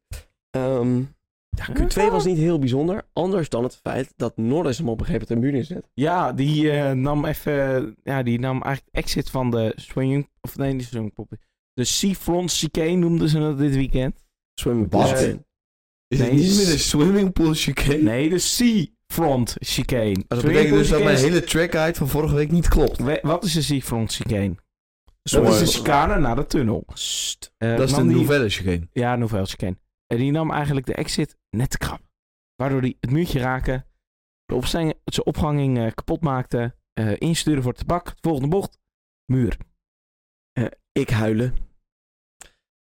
[SPEAKER 1] Ehm, ja, Q2 was niet heel bijzonder. Anders dan het feit dat Norris hem op een gegeven moment de muur inzet.
[SPEAKER 2] Ja, die eh, nam even. Ja, die nam eigenlijk exit van de swing. Of nee, niet swing pop. De Seafront Chicane noemden ze dat dit weekend.
[SPEAKER 1] Swim
[SPEAKER 4] Wat?
[SPEAKER 1] Basten.
[SPEAKER 4] Is het
[SPEAKER 2] Nee,
[SPEAKER 4] niet
[SPEAKER 2] s-
[SPEAKER 4] meer een swimmingpool chicane?
[SPEAKER 2] Nee, de Seafront Chicane.
[SPEAKER 4] Maar dat
[SPEAKER 2] Swing
[SPEAKER 4] betekent dus dat
[SPEAKER 2] chicane
[SPEAKER 4] mijn
[SPEAKER 2] is-
[SPEAKER 4] hele track-out van vorige week niet klopt.
[SPEAKER 2] We- Wat is de Seafront Chicane? Dat
[SPEAKER 1] Mooi.
[SPEAKER 2] is de chicane naar de tunnel.
[SPEAKER 1] Sst.
[SPEAKER 2] Eh,
[SPEAKER 4] Dat is de
[SPEAKER 2] nam die-
[SPEAKER 4] nouvelle chicane.
[SPEAKER 2] Ja, Nouvelle Chicane. En die nam eigenlijk de exit net te krap. Waardoor die het muurtje raken, de opzijn- zijn opganging eh, kapot maakte, eh, insturen voor het tabak, volgende bocht, muur.
[SPEAKER 1] Ik huilen.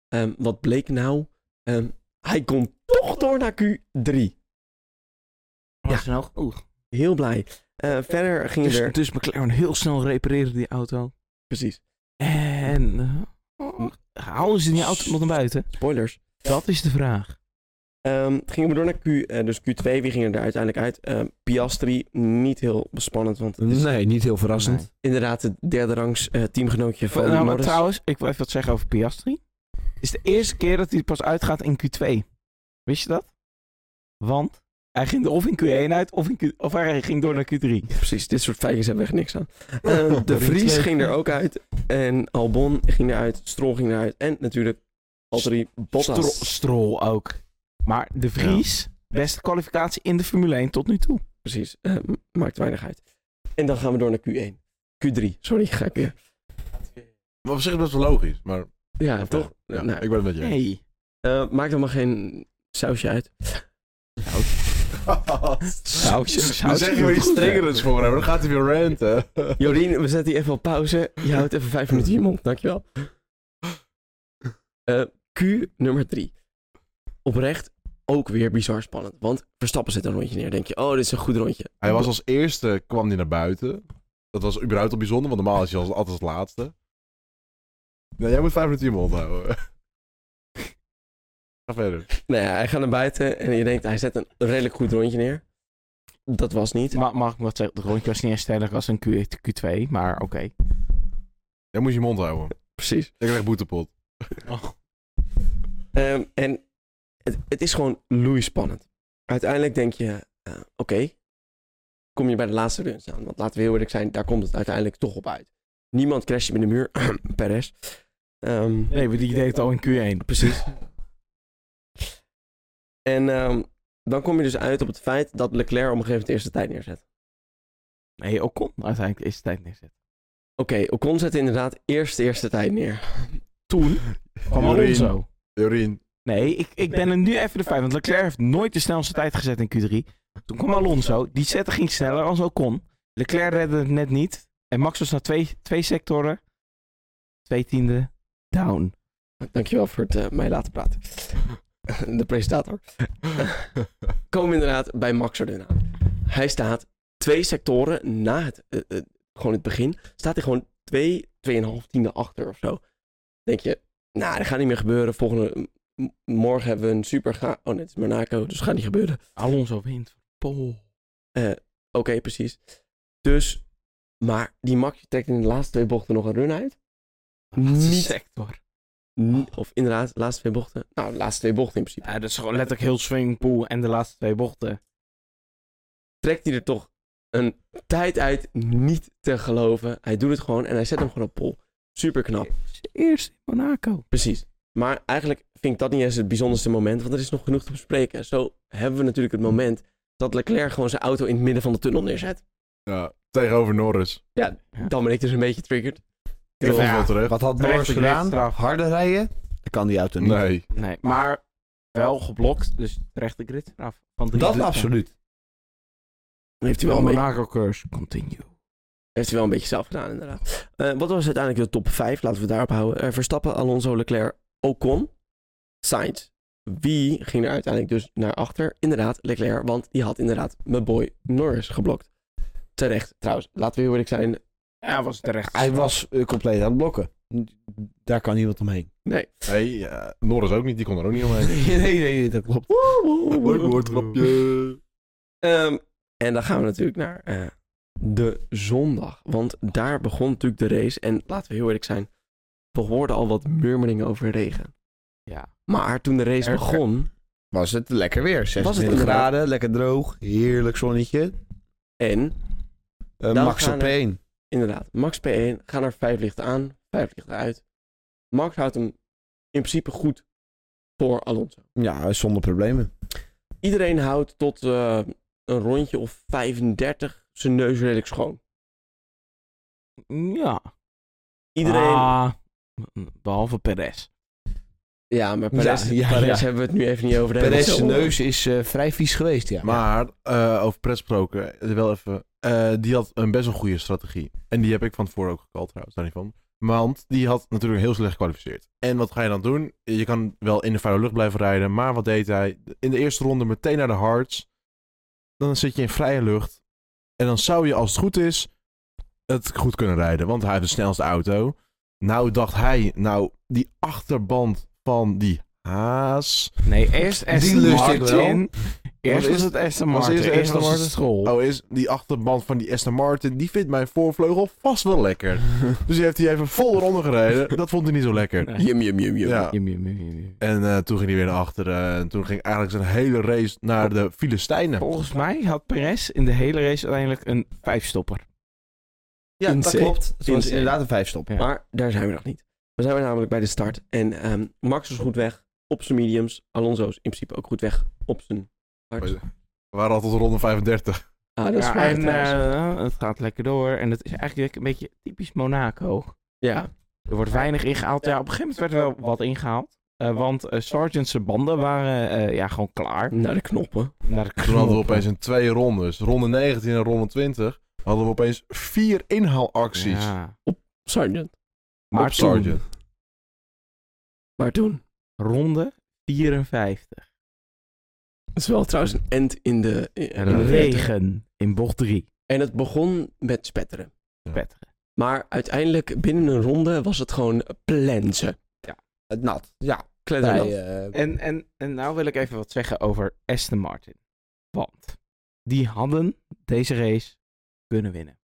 [SPEAKER 1] Ehm, wat bleek nou? Ehm, hij kon toch door naar Q3.
[SPEAKER 2] Ja, snel. Oeh.
[SPEAKER 1] Heel blij. Eh, verder gingen
[SPEAKER 2] Dus,
[SPEAKER 1] er...
[SPEAKER 2] dus McLaren heel snel repareren die auto.
[SPEAKER 1] Precies.
[SPEAKER 2] En eh, oh, houden ze die auto nog naar buiten?
[SPEAKER 1] Spoilers.
[SPEAKER 2] Dat is de vraag.
[SPEAKER 1] Ehm, gingen we door naar Q, eh, dus Q2. Wie ging er daar uiteindelijk uit? Ehm, Piastri, niet heel spannend, want het is
[SPEAKER 4] Nee, niet heel verrassend.
[SPEAKER 2] Nee.
[SPEAKER 1] inderdaad het derde rangs eh, teamgenootje van
[SPEAKER 2] Nou, maar
[SPEAKER 3] dus-
[SPEAKER 1] Norris.
[SPEAKER 2] trouwens, ik wil even wat zeggen over Piastri. Het is de eerste keer dat hij pas uitgaat in Q2. Wist je dat? Want hij ging er of in Q1 uit, of, in Q, of hij ging door naar Q3.
[SPEAKER 1] Precies, dit soort feitjes hebben we echt niks aan. Ehm, de
[SPEAKER 4] Dat is
[SPEAKER 1] Vries
[SPEAKER 4] leuk.
[SPEAKER 1] ging er ook uit. En Albon ging eruit. Stroll ging eruit. En natuurlijk Valtteri
[SPEAKER 2] Strol,
[SPEAKER 1] Bottas.
[SPEAKER 2] Strol ook. Maar de Vries, beste kwalificatie in de Formule 1 tot nu toe.
[SPEAKER 1] Precies, eh, m- maakt weinig uit. En dan gaan we door naar Q1. Q3, sorry, ga ik weer.
[SPEAKER 3] Maar op zich is best wel logisch. Maar,
[SPEAKER 1] Ja, toch?
[SPEAKER 3] Ja,
[SPEAKER 1] Nou,
[SPEAKER 3] Ik ben het met je eens.
[SPEAKER 2] Nee.
[SPEAKER 1] eh, maakt helemaal geen sausje uit.
[SPEAKER 2] Sausje,
[SPEAKER 3] Dan
[SPEAKER 2] sausje.
[SPEAKER 3] zeg je weer iets
[SPEAKER 2] Goed, hè?
[SPEAKER 3] triggerends voor hem. Dan gaat hij weer ranten.
[SPEAKER 1] Jorien, we zetten hier even op pauze. Je houdt even vijf minuten in je mond, dankjewel. Eh, Q nummer drie. Oprecht ook weer bizar spannend. Want Verstappen zet een rondje neer. denk je, oh, dit is een goed rondje.
[SPEAKER 3] Hij was als eerste, kwam hij naar buiten. Dat was überhaupt al bijzonder, want normaal is hij als, altijd als laatste. Nee, jij moet vijf minuten in je mond houden. Ga verder.
[SPEAKER 1] Nou ja, hij gaat naar buiten en je denkt, hij zet een redelijk goed rondje neer. Dat was niet.
[SPEAKER 2] Ma- mag ik wat zeggen? Het rondje was niet eens sterk als een Q, Q2, maar oké.
[SPEAKER 3] Jij moet je mond houden.
[SPEAKER 1] Precies.
[SPEAKER 3] Ik krijg boetepot.
[SPEAKER 1] Ehm, en het, het is gewoon loeispannend. Uiteindelijk denk je, eh, oké, kom je bij de laatste run staan. Want laten we heel eerlijk zijn, daar komt het uiteindelijk toch op uit. Niemand crasht je met de muur, Perez. Ehm,
[SPEAKER 2] Nee, maar die deed het al in Q1.
[SPEAKER 1] Precies. En ehm, dan kom je dus uit op het feit dat Leclerc op een gegeven moment de eerste tijd neerzet.
[SPEAKER 2] Nee, ook kon uiteindelijk de eerste tijd neerzetten.
[SPEAKER 1] Oké, Ocon zet inderdaad eerst de eerste tijd neer.
[SPEAKER 2] Toen kwam
[SPEAKER 3] Jorien.
[SPEAKER 2] Alonso.
[SPEAKER 3] Jorien,
[SPEAKER 2] Nee, ik, ik ben er nu even de vijf. Want Leclerc heeft nooit de snelste tijd gezet in Q3. Toen kwam Alonso. Die zette ging sneller als Ocon. Leclerc redde het net niet. En Max was na twee, twee sectoren. Twee tiende down.
[SPEAKER 1] Dankjewel voor het eh, mij laten praten. De presentator. Komen we inderdaad bij Max Verstappen aan. Hij staat twee sectoren na het, eh, eh, gewoon in het begin, staat hij gewoon twee, tweeënhalf tiende achter of zo. Dan denk je, nou, dat gaat niet meer gebeuren. Volgende, m- morgen hebben we een super ga... Oh, nee, het is Monaco, dus het gaat niet gebeuren.
[SPEAKER 2] Alonso wint. Pol.
[SPEAKER 1] Oké, precies. Dus, maar die Max trekt in de laatste twee bochten nog een run uit. Niet-
[SPEAKER 2] sector.
[SPEAKER 1] N- Of inderdaad, de laatste twee bochten. Nou, de laatste twee bochten in principe.
[SPEAKER 2] Ja, dat is gewoon letterlijk heel swingpool en de laatste twee bochten.
[SPEAKER 1] trekt hij er toch een tijd uit niet te geloven. Hij doet het gewoon en hij zet hem gewoon op pol. Super knap.
[SPEAKER 2] Eerst in Monaco.
[SPEAKER 1] Precies. Maar eigenlijk vind ik dat niet eens het bijzonderste moment, want er is nog genoeg te bespreken. Zo hebben we natuurlijk het moment dat Leclerc gewoon zijn auto in het midden van de tunnel neerzet.
[SPEAKER 3] Ja, tegenover Norris.
[SPEAKER 1] Dan ben ik dus een beetje triggered.
[SPEAKER 3] Ik vond
[SPEAKER 1] Ja.
[SPEAKER 3] het wel terecht.
[SPEAKER 4] Wat had
[SPEAKER 2] Recht-
[SPEAKER 4] Norris gedaan?
[SPEAKER 2] rechtsstraf.
[SPEAKER 4] Harder rijden? Dat kan die auto niet.
[SPEAKER 3] Nee.
[SPEAKER 2] Nee, maar wel geblokt, dus terecht de grid eraf. Van drie
[SPEAKER 4] Dat
[SPEAKER 2] punten.
[SPEAKER 4] absoluut.
[SPEAKER 1] Heeft hij wel
[SPEAKER 2] Wel
[SPEAKER 1] een beetje,
[SPEAKER 2] Monaco curse. Continue.
[SPEAKER 1] heeft hij wel een beetje zelf gedaan, inderdaad. Eh, wat was uiteindelijk de top 5? Laten we het daarop houden. Eh, Verstappen, Alonso, Leclerc, Ocon, Sainz. Wie ging er uiteindelijk dus naar achter? Inderdaad, Leclerc, want die had inderdaad mijn boy Norris geblokt. Terecht, trouwens. Laten we heel eerlijk zijn.
[SPEAKER 2] Ja, was terecht.
[SPEAKER 4] Hij was eh, compleet aan het blokken. Daar kan niemand omheen.
[SPEAKER 1] Nee.
[SPEAKER 3] Hey, ja, Norris ook niet, die kon er ook niet omheen.
[SPEAKER 4] nee, nee, nee, dat klopt.
[SPEAKER 3] Leuk woordgrapje.
[SPEAKER 1] Ehm, en dan gaan we natuurlijk naar eh, de zondag. Want daar begon natuurlijk de race. En laten we heel eerlijk zijn. We hoorden al wat murmeringen over regen.
[SPEAKER 2] Ja.
[SPEAKER 1] Maar toen de race
[SPEAKER 2] Er-
[SPEAKER 1] begon.
[SPEAKER 4] Was het lekker weer? 26
[SPEAKER 1] inderdaad.
[SPEAKER 4] graden, lekker droog, heerlijk zonnetje.
[SPEAKER 1] En
[SPEAKER 4] Eh,
[SPEAKER 1] Dan
[SPEAKER 4] Max
[SPEAKER 1] gaan
[SPEAKER 4] op
[SPEAKER 1] er-
[SPEAKER 4] 1.
[SPEAKER 1] inderdaad, Max P1 gaan er vijf lichten aan, vijf lichten uit. Max houdt hem in principe goed voor Alonso.
[SPEAKER 4] Ja, zonder problemen.
[SPEAKER 1] Iedereen houdt tot eh, een rondje of 35 zijn neus redelijk schoon.
[SPEAKER 2] Ja.
[SPEAKER 1] Iedereen.
[SPEAKER 2] Ah, behalve Perez.
[SPEAKER 1] Ja, maar Perez,
[SPEAKER 4] Ja, ja,
[SPEAKER 1] Perez
[SPEAKER 4] ja.
[SPEAKER 1] hebben we het nu even niet over. Daar hebben
[SPEAKER 4] Perez's
[SPEAKER 1] we het zo-
[SPEAKER 4] neus is eh, vrij vies geweest, ja.
[SPEAKER 3] Maar, eh, over pret gesproken, eh, wel even. eh, die had een best wel goede strategie. En die heb ik van tevoren ook gekald trouwens, daar niet van. Want die had natuurlijk heel slecht gekwalificeerd. En wat ga je dan doen? Je kan wel in de vuile lucht blijven rijden, maar wat deed hij? In de eerste ronde meteen naar de hards. Dan zit je in vrije lucht. En dan zou je, als het goed is, het goed kunnen rijden. Want hij heeft de snelste auto. Nou dacht hij, nou, die achterband van die haas.
[SPEAKER 2] Nee, eerst Aston
[SPEAKER 3] lust ik
[SPEAKER 2] Martin. Eerst
[SPEAKER 3] Was
[SPEAKER 2] was
[SPEAKER 3] eerst-
[SPEAKER 2] het Aston
[SPEAKER 3] was
[SPEAKER 2] Martin.
[SPEAKER 3] eerst
[SPEAKER 2] Eerst
[SPEAKER 3] Aston
[SPEAKER 2] was het
[SPEAKER 3] Martin.
[SPEAKER 2] school.
[SPEAKER 3] Oh, is die achterband van die Aston Martin, die vindt mijn voorvleugel vast wel lekker. Dus die heeft hij even vol eronder gereden. Dat vond hij niet zo lekker.
[SPEAKER 2] Nee.
[SPEAKER 1] Jum, jum, jum, jum.
[SPEAKER 3] Ja.
[SPEAKER 2] Jum, jum, jum, jum, jum.
[SPEAKER 3] En eh, toen ging hij weer naar achteren. en toen ging eigenlijk zijn hele race naar de Filistijnen.
[SPEAKER 2] Volgens mij had Perez in de hele race uiteindelijk een vijfstopper.
[SPEAKER 4] ja, dat
[SPEAKER 1] Insane.
[SPEAKER 4] klopt. Het was
[SPEAKER 1] Insane.
[SPEAKER 4] inderdaad een vijfstop.
[SPEAKER 2] Ja.
[SPEAKER 1] Maar daar zijn we nog niet. We zijn namelijk bij de start. En ehm, Max is goed weg op zijn mediums. Alonso is in principe ook goed weg op zijn hard.
[SPEAKER 3] We waren al tot ronde 35.
[SPEAKER 1] Ah, dat is
[SPEAKER 2] Ja,
[SPEAKER 1] waar,
[SPEAKER 2] en
[SPEAKER 1] trouwens.
[SPEAKER 2] eh, het gaat lekker door. En het is eigenlijk een beetje typisch Monaco.
[SPEAKER 1] ja,
[SPEAKER 2] Er wordt weinig ingehaald. Ja, op een gegeven moment werd er wel wat ingehaald. Eh, want eh Sargent's banden waren eh, ja, gewoon klaar.
[SPEAKER 1] naar de knoppen.
[SPEAKER 2] Naar de
[SPEAKER 3] Toen hadden we
[SPEAKER 2] knoppen.
[SPEAKER 3] opeens in twee rondes, ronde 19 en ronde 20, hadden we opeens vier inhaalacties.
[SPEAKER 2] Ja.
[SPEAKER 1] Sergeant.
[SPEAKER 2] Maar
[SPEAKER 3] op
[SPEAKER 2] toen,
[SPEAKER 3] Sargent.
[SPEAKER 1] Maar toen.
[SPEAKER 2] ronde 54.
[SPEAKER 1] Het is wel trouwens een end in de, in in de regen.
[SPEAKER 2] Regen in bocht 3.
[SPEAKER 1] En het begon met spetteren.
[SPEAKER 2] Petteren.
[SPEAKER 1] Maar uiteindelijk binnen een ronde was het gewoon plensen.
[SPEAKER 4] Het nat. Ja,
[SPEAKER 1] Kletteren.
[SPEAKER 4] bij, eh,
[SPEAKER 2] En, en, en nou wil ik even wat zeggen over Aston Martin. Want die hadden deze race kunnen winnen.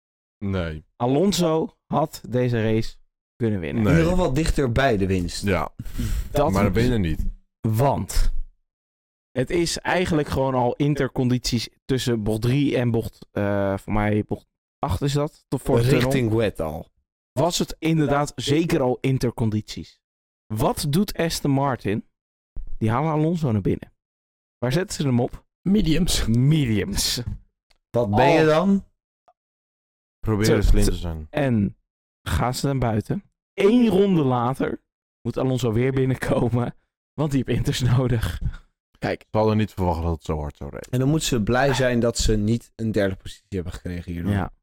[SPEAKER 3] Nee.
[SPEAKER 2] Alonso had deze race kunnen winnen.
[SPEAKER 3] Nee.
[SPEAKER 4] in ieder geval dichter bij de winst.
[SPEAKER 3] Ja,
[SPEAKER 2] Dat
[SPEAKER 3] maar binnen niet.
[SPEAKER 2] Want het is eigenlijk gewoon al intercondities tussen bocht 3 en bocht, eh, voor mij bocht 8 is dat, tot voor de tunnel.
[SPEAKER 4] Richting wet al.
[SPEAKER 2] Was het inderdaad zeker al intercondities. Wat doet Aston Martin? Die halen Alonso naar binnen. Waar zetten ze hem op?
[SPEAKER 1] Mediums.
[SPEAKER 2] Mediums.
[SPEAKER 4] Wat ben je
[SPEAKER 2] Oh.
[SPEAKER 4] dan?
[SPEAKER 3] Probeer
[SPEAKER 2] Te-
[SPEAKER 3] eens slim te zijn.
[SPEAKER 2] En gaan ze dan buiten. Eén ronde later moet Alonso weer binnenkomen, want die heeft inters nodig.
[SPEAKER 1] Kijk,
[SPEAKER 3] Ik hadden niet verwacht dat het zo hard zou reden.
[SPEAKER 4] En dan moeten ze blij zijn dat ze niet een derde positie hebben gekregen hierdoor.
[SPEAKER 2] Ja.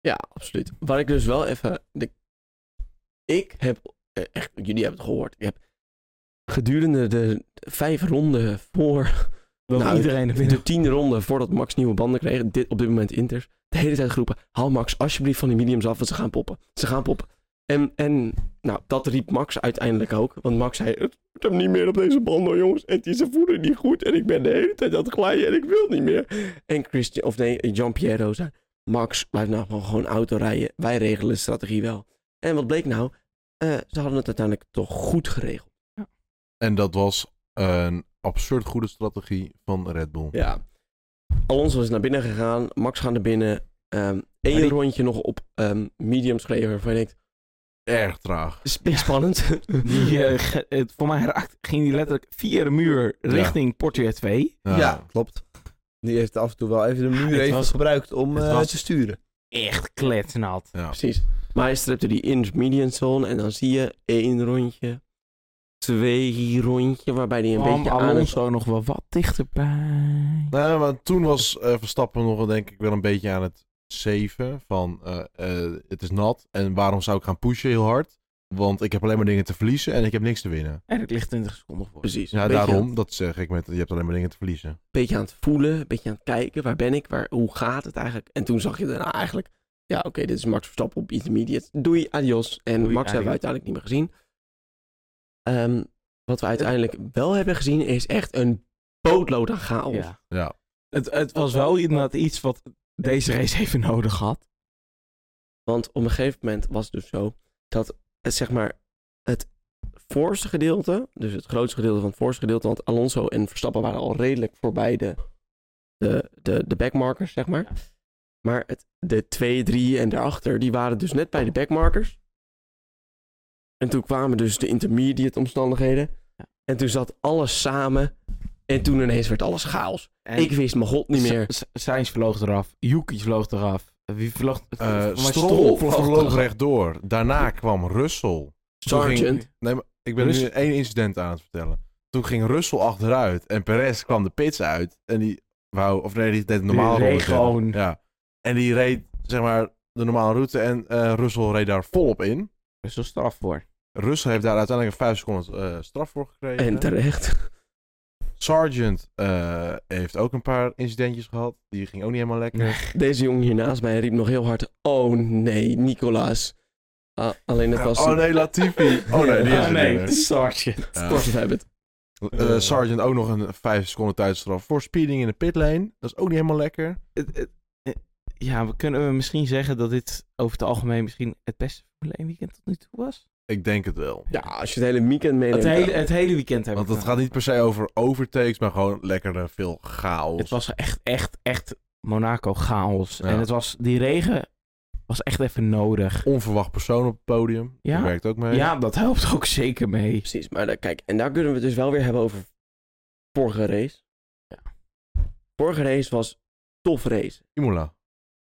[SPEAKER 1] ja, absoluut. Wat ik dus wel even... De... Ik heb... eh, Echt, jullie hebben het gehoord. Ik heb gedurende de vijf ronden voor
[SPEAKER 2] Dat
[SPEAKER 1] Nou,
[SPEAKER 2] iedereen naar binnen.
[SPEAKER 1] De tiende ronde voordat Max nieuwe banden kreeg, dit, op dit moment Inters, de hele tijd geroepen: haal Max alsjeblieft van die mediums af, want ze gaan poppen. Ze gaan poppen. En, en nou, dat riep Max uiteindelijk ook. Want Max zei: Het wordt hem niet meer op deze band, hoor, jongens. Het is zijn voeten niet goed. En ik ben de hele tijd aan het glijden en ik wil niet meer. En Christian, of nee, Gian Piero zei: Max, blijf nou gewoon- gewoon auto rijden. Wij regelen de strategie wel. En wat bleek nou? Eh, ze hadden het uiteindelijk toch goed geregeld.
[SPEAKER 3] En dat was een absurd goede strategie van Red Bull.
[SPEAKER 1] Ja. Alonso is naar binnen gegaan. Max gaat naar binnen. Eén
[SPEAKER 2] Maar die-
[SPEAKER 1] rondje nog op ehm mediums gereden waarvan je denkt,
[SPEAKER 3] Erg traag.
[SPEAKER 1] is best spannend.
[SPEAKER 2] Die, eh, ge- het, voor mij raakt, ging die letterlijk via de muur richting Portier 2.
[SPEAKER 4] Ja. klopt. Die heeft af en toe wel even de
[SPEAKER 2] Het
[SPEAKER 4] muur even
[SPEAKER 2] was-
[SPEAKER 4] gebruikt om
[SPEAKER 3] het
[SPEAKER 4] eh,
[SPEAKER 3] was-
[SPEAKER 4] te sturen.
[SPEAKER 2] Echt kletsnat.
[SPEAKER 3] ja.
[SPEAKER 1] Precies. Maar hij stripte die intermediate zone en dan zie je één rondje, twee rondje, waarbij hij een
[SPEAKER 2] Kwam
[SPEAKER 1] beetje aan het...
[SPEAKER 2] Alonso nog wel wat dichterbij.
[SPEAKER 3] Nou, maar toen was eh, Verstappen nog wel, denk ik, wel een beetje aan het zeven van eh, eh, het is nat en waarom zou ik gaan pushen heel hard? Want ik heb alleen maar dingen te verliezen en ik heb niks te winnen.
[SPEAKER 2] En het ligt 20 seconden voor.
[SPEAKER 1] Precies.
[SPEAKER 3] Ja,
[SPEAKER 1] Een beetje
[SPEAKER 3] daarom, dat zeg ik met je hebt alleen maar dingen te verliezen.
[SPEAKER 1] beetje aan het voelen, een beetje aan het kijken. Waar ben ik? Waar, hoe gaat het eigenlijk? En toen zag je daarna eigenlijk, ja oké, dit is Max Verstappen op intermediate. Doei, adios. En
[SPEAKER 2] Doei,
[SPEAKER 1] Max hebben we
[SPEAKER 2] adios.
[SPEAKER 1] uiteindelijk niet meer gezien. Ehm, wat we uiteindelijk wel hebben gezien is echt een bootlood aan chaos.
[SPEAKER 2] Ja.
[SPEAKER 3] Ja.
[SPEAKER 2] Het, het was wel inderdaad iets wat deze race even nodig had.
[SPEAKER 1] Want op een gegeven moment was het dus zo dat eh, zeg maar het voorste gedeelte, dus het grootste gedeelte van het voorste gedeelte, want Alonso en Verstappen waren al redelijk voorbij de, de, de, de backmarkers, zeg maar. Maar het, de 2, 3 en daarachter, die waren dus net bij de backmarkers. En toen kwamen dus de intermediate omstandigheden.
[SPEAKER 2] Ja.
[SPEAKER 1] En toen zat alles samen. En toen ineens werd alles chaos. ik wist mijn god niet meer.
[SPEAKER 2] Sainz vloog eraf. Yuki vloog eraf. Wie vloog...
[SPEAKER 3] Eh
[SPEAKER 2] Maar
[SPEAKER 3] Stroll
[SPEAKER 2] eraf.
[SPEAKER 3] vloog rechtdoor. Daarna kwam Russell. Toen ging-
[SPEAKER 1] Sergeant.
[SPEAKER 3] Nee, maar ik ben
[SPEAKER 2] Russell-
[SPEAKER 3] nu één incident aan het vertellen. Toen ging Russell achteruit en Perez kwam de pits uit. En die wou, of nee, die deed de normale
[SPEAKER 2] Die reed
[SPEAKER 3] route verder.
[SPEAKER 2] gewoon.
[SPEAKER 3] Ja. En die reed, zeg maar, de normale route en eh Russell reed daar volop in.
[SPEAKER 2] Er is een straf voor.
[SPEAKER 3] Russell heeft daar uiteindelijk een vijf seconden eh, straf voor gekregen.
[SPEAKER 1] En terecht.
[SPEAKER 3] Sargent eh, heeft ook een paar incidentjes gehad. Die ging ook niet helemaal lekker.
[SPEAKER 1] Deze jongen hier naast mij riep nog heel hard: Oh nee, Nicolaas. Ah, alleen het was.
[SPEAKER 3] oh nee, Latifi. Oh nee, die is
[SPEAKER 2] Ah,
[SPEAKER 3] er
[SPEAKER 2] nee,
[SPEAKER 3] niet meer.
[SPEAKER 2] het is Sartje.
[SPEAKER 3] Ja.
[SPEAKER 1] Sportive habit.
[SPEAKER 3] Eh, Sargent ook nog een vijf seconden tijdstraf voor speeding in de pitlane. Dat is ook niet helemaal lekker.
[SPEAKER 2] Het- het- eh, Ja, we kunnen we misschien zeggen dat dit over het algemeen misschien het beste Formule 1 weekend tot nu toe was.
[SPEAKER 3] Ik denk het wel.
[SPEAKER 1] Ja, als je het hele weekend
[SPEAKER 2] Het
[SPEAKER 1] meeneemt.
[SPEAKER 2] hele, het hele weekend hebben
[SPEAKER 3] Want
[SPEAKER 2] we
[SPEAKER 3] het gaat niet per se over overtakes, maar gewoon lekker eh, veel chaos.
[SPEAKER 2] Het was echt, echt, echt Monaco chaos.
[SPEAKER 3] Ja.
[SPEAKER 2] En het was, die regen was echt even nodig.
[SPEAKER 3] onverwacht persoon op het podium.
[SPEAKER 2] Ja.
[SPEAKER 3] Dat werkt ook mee.
[SPEAKER 2] Ja, dat helpt ook zeker mee.
[SPEAKER 1] Precies, maar daar, kijk, en daar kunnen we het dus wel weer hebben over vorige race.
[SPEAKER 2] Ja.
[SPEAKER 1] Vorige race was tof race.
[SPEAKER 3] Imola.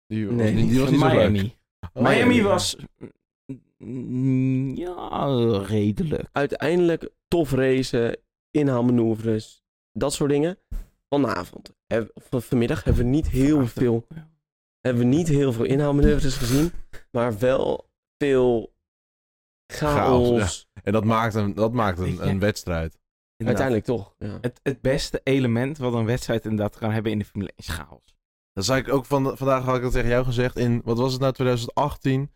[SPEAKER 3] Die was,
[SPEAKER 1] Nee,
[SPEAKER 3] niet, die was niet zo leuk.
[SPEAKER 2] Miami.
[SPEAKER 3] Oh,
[SPEAKER 2] Miami
[SPEAKER 1] Miami.
[SPEAKER 2] was... mm, Ja, redelijk.
[SPEAKER 1] Uiteindelijk tof racen, inhaalmanoeuvres, dat soort dingen. Vanavond, eh, of vanmiddag, hebben we niet heel veel hebben we niet heel veel inhaalmanoeuvres gezien, maar wel veel chaos.
[SPEAKER 3] Chaos, En dat maakt een, dat maakt een,
[SPEAKER 2] Ja.
[SPEAKER 3] een wedstrijd.
[SPEAKER 1] Uiteindelijk toch. Ja.
[SPEAKER 2] Het, het beste element wat een wedstrijd inderdaad kan hebben in de Formule 1 is chaos.
[SPEAKER 3] Dat zei ik ook van, vandaag had ik dat tegen jou gezegd in, wat was het nou, 2018?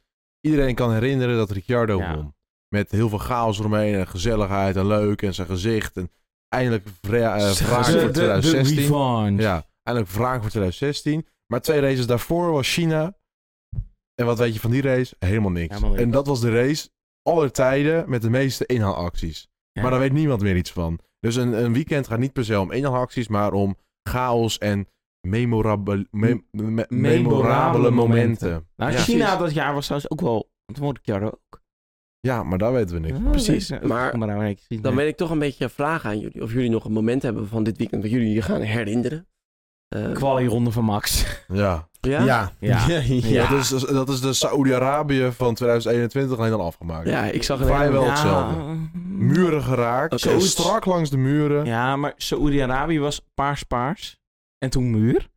[SPEAKER 3] Iedereen kan herinneren dat Ricciardo
[SPEAKER 2] Ja.
[SPEAKER 3] won. Met heel veel chaos eromheen en gezelligheid en leuk en zijn gezicht. En eindelijk vra- eh, wraak
[SPEAKER 2] de,
[SPEAKER 3] voor
[SPEAKER 2] de, de
[SPEAKER 3] 2016.
[SPEAKER 2] revanche.
[SPEAKER 3] Ja, eindelijk wraak voor 2016. Maar twee races daarvoor was China. En wat weet je van die race? Helemaal niks.
[SPEAKER 2] Helemaal niks.
[SPEAKER 3] En dat was de race aller tijden met de meeste inhaalacties.
[SPEAKER 2] Ja.
[SPEAKER 3] Maar daar weet niemand meer iets van. Dus een, een weekend gaat niet per se om inhaalacties, maar om chaos en memorabel- me- me- memorabele momenten.
[SPEAKER 2] Nou,
[SPEAKER 3] Ja.
[SPEAKER 2] China
[SPEAKER 1] Precies.
[SPEAKER 2] dat jaar was trouwens ook wel... Want toen word ik jaar ook.
[SPEAKER 3] Ja, maar daar weten we niks.
[SPEAKER 2] Ja,
[SPEAKER 1] Precies,
[SPEAKER 2] dat-
[SPEAKER 1] maar-
[SPEAKER 2] maar nou, ik zie-
[SPEAKER 1] Dan ben ik toch een beetje vragen aan jullie. Of jullie nog een moment hebben van dit weekend dat jullie je gaan herinneren. Eh,
[SPEAKER 2] Quali-ronde van Max.
[SPEAKER 3] Ja.
[SPEAKER 1] ja? ja?
[SPEAKER 2] Ja. Ja.
[SPEAKER 3] Dat, is, dat is de Saoedi-Arabië van 2021 alleen al afgemaakt.
[SPEAKER 1] ik zag een
[SPEAKER 3] Vrijwel
[SPEAKER 1] hele-
[SPEAKER 2] Ja. Mm.
[SPEAKER 3] hetzelfde. Muren geraakt,
[SPEAKER 1] Oké.
[SPEAKER 3] zo strak langs de muren.
[SPEAKER 2] Ja, maar Saoedi-Arabië was paars-paars. En toen muur.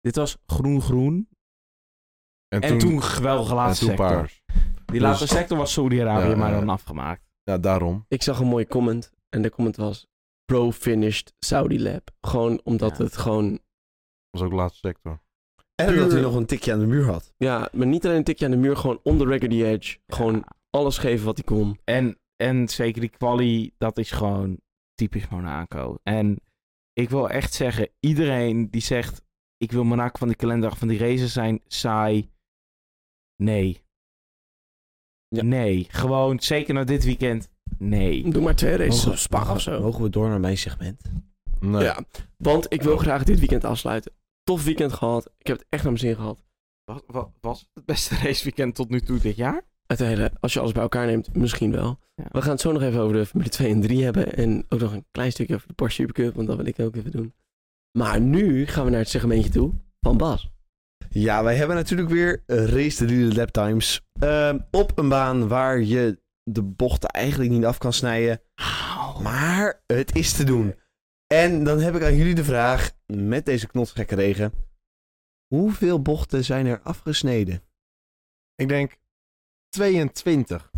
[SPEAKER 2] Dit was groen-groen. En, toen geweldige
[SPEAKER 3] en
[SPEAKER 2] laatste
[SPEAKER 3] toen
[SPEAKER 2] sector.
[SPEAKER 3] paars.
[SPEAKER 2] Die
[SPEAKER 3] Dus-
[SPEAKER 2] laatste sector was Saoedi-Arabië,
[SPEAKER 3] Ja,
[SPEAKER 2] maar
[SPEAKER 3] ja.
[SPEAKER 2] dan afgemaakt.
[SPEAKER 3] Ja, daarom.
[SPEAKER 1] Ik zag een mooie comment. En de comment was: Pro finished Saudi Lab. Gewoon omdat
[SPEAKER 2] Ja.
[SPEAKER 1] het gewoon.
[SPEAKER 3] was ook de laatste sector.
[SPEAKER 4] En
[SPEAKER 1] puur-
[SPEAKER 4] dat hij nog een tikje aan de muur had.
[SPEAKER 1] Ja, maar niet alleen een tikje aan de muur, gewoon on the record the edge. Gewoon
[SPEAKER 2] Ja.
[SPEAKER 1] alles geven wat hij kon.
[SPEAKER 2] En, en zeker die quali, dat is gewoon typisch Monaco. En ik wil echt zeggen, iedereen die zegt... ik wil Monaco van die kalenderdag van die races zijn, saai. Nee.
[SPEAKER 1] Ja.
[SPEAKER 2] Nee. Gewoon, zeker na dit weekend, nee.
[SPEAKER 1] Doe maar twee races op Spa
[SPEAKER 4] mogen-
[SPEAKER 1] of zo.
[SPEAKER 4] Mogen we door naar mijn segment?
[SPEAKER 3] Nee.
[SPEAKER 1] Ja, want ik wil graag dit weekend afsluiten. Tof weekend gehad. Ik heb het echt naar mijn zin gehad.
[SPEAKER 2] Wat, wat was het beste raceweekend tot nu toe dit jaar?
[SPEAKER 1] Het hele, als je alles bij elkaar neemt, misschien wel.
[SPEAKER 2] Ja.
[SPEAKER 1] We gaan het zo nog even over de Formule 2 en 3 hebben. En ook nog een klein stukje over de Porsche Supercup, want dat wil ik ook even doen. Maar nu gaan we naar het segmentje toe van Bas.
[SPEAKER 4] Ja, wij hebben natuurlijk weer eh, Race the Leader Lap Times. Ehm, op een baan waar je de bochten eigenlijk niet af kan snijden. Maar het is te doen. En dan heb ik aan jullie de vraag, met deze knotsgekke regen. Hoeveel bochten zijn er afgesneden?
[SPEAKER 3] Ik denk 22.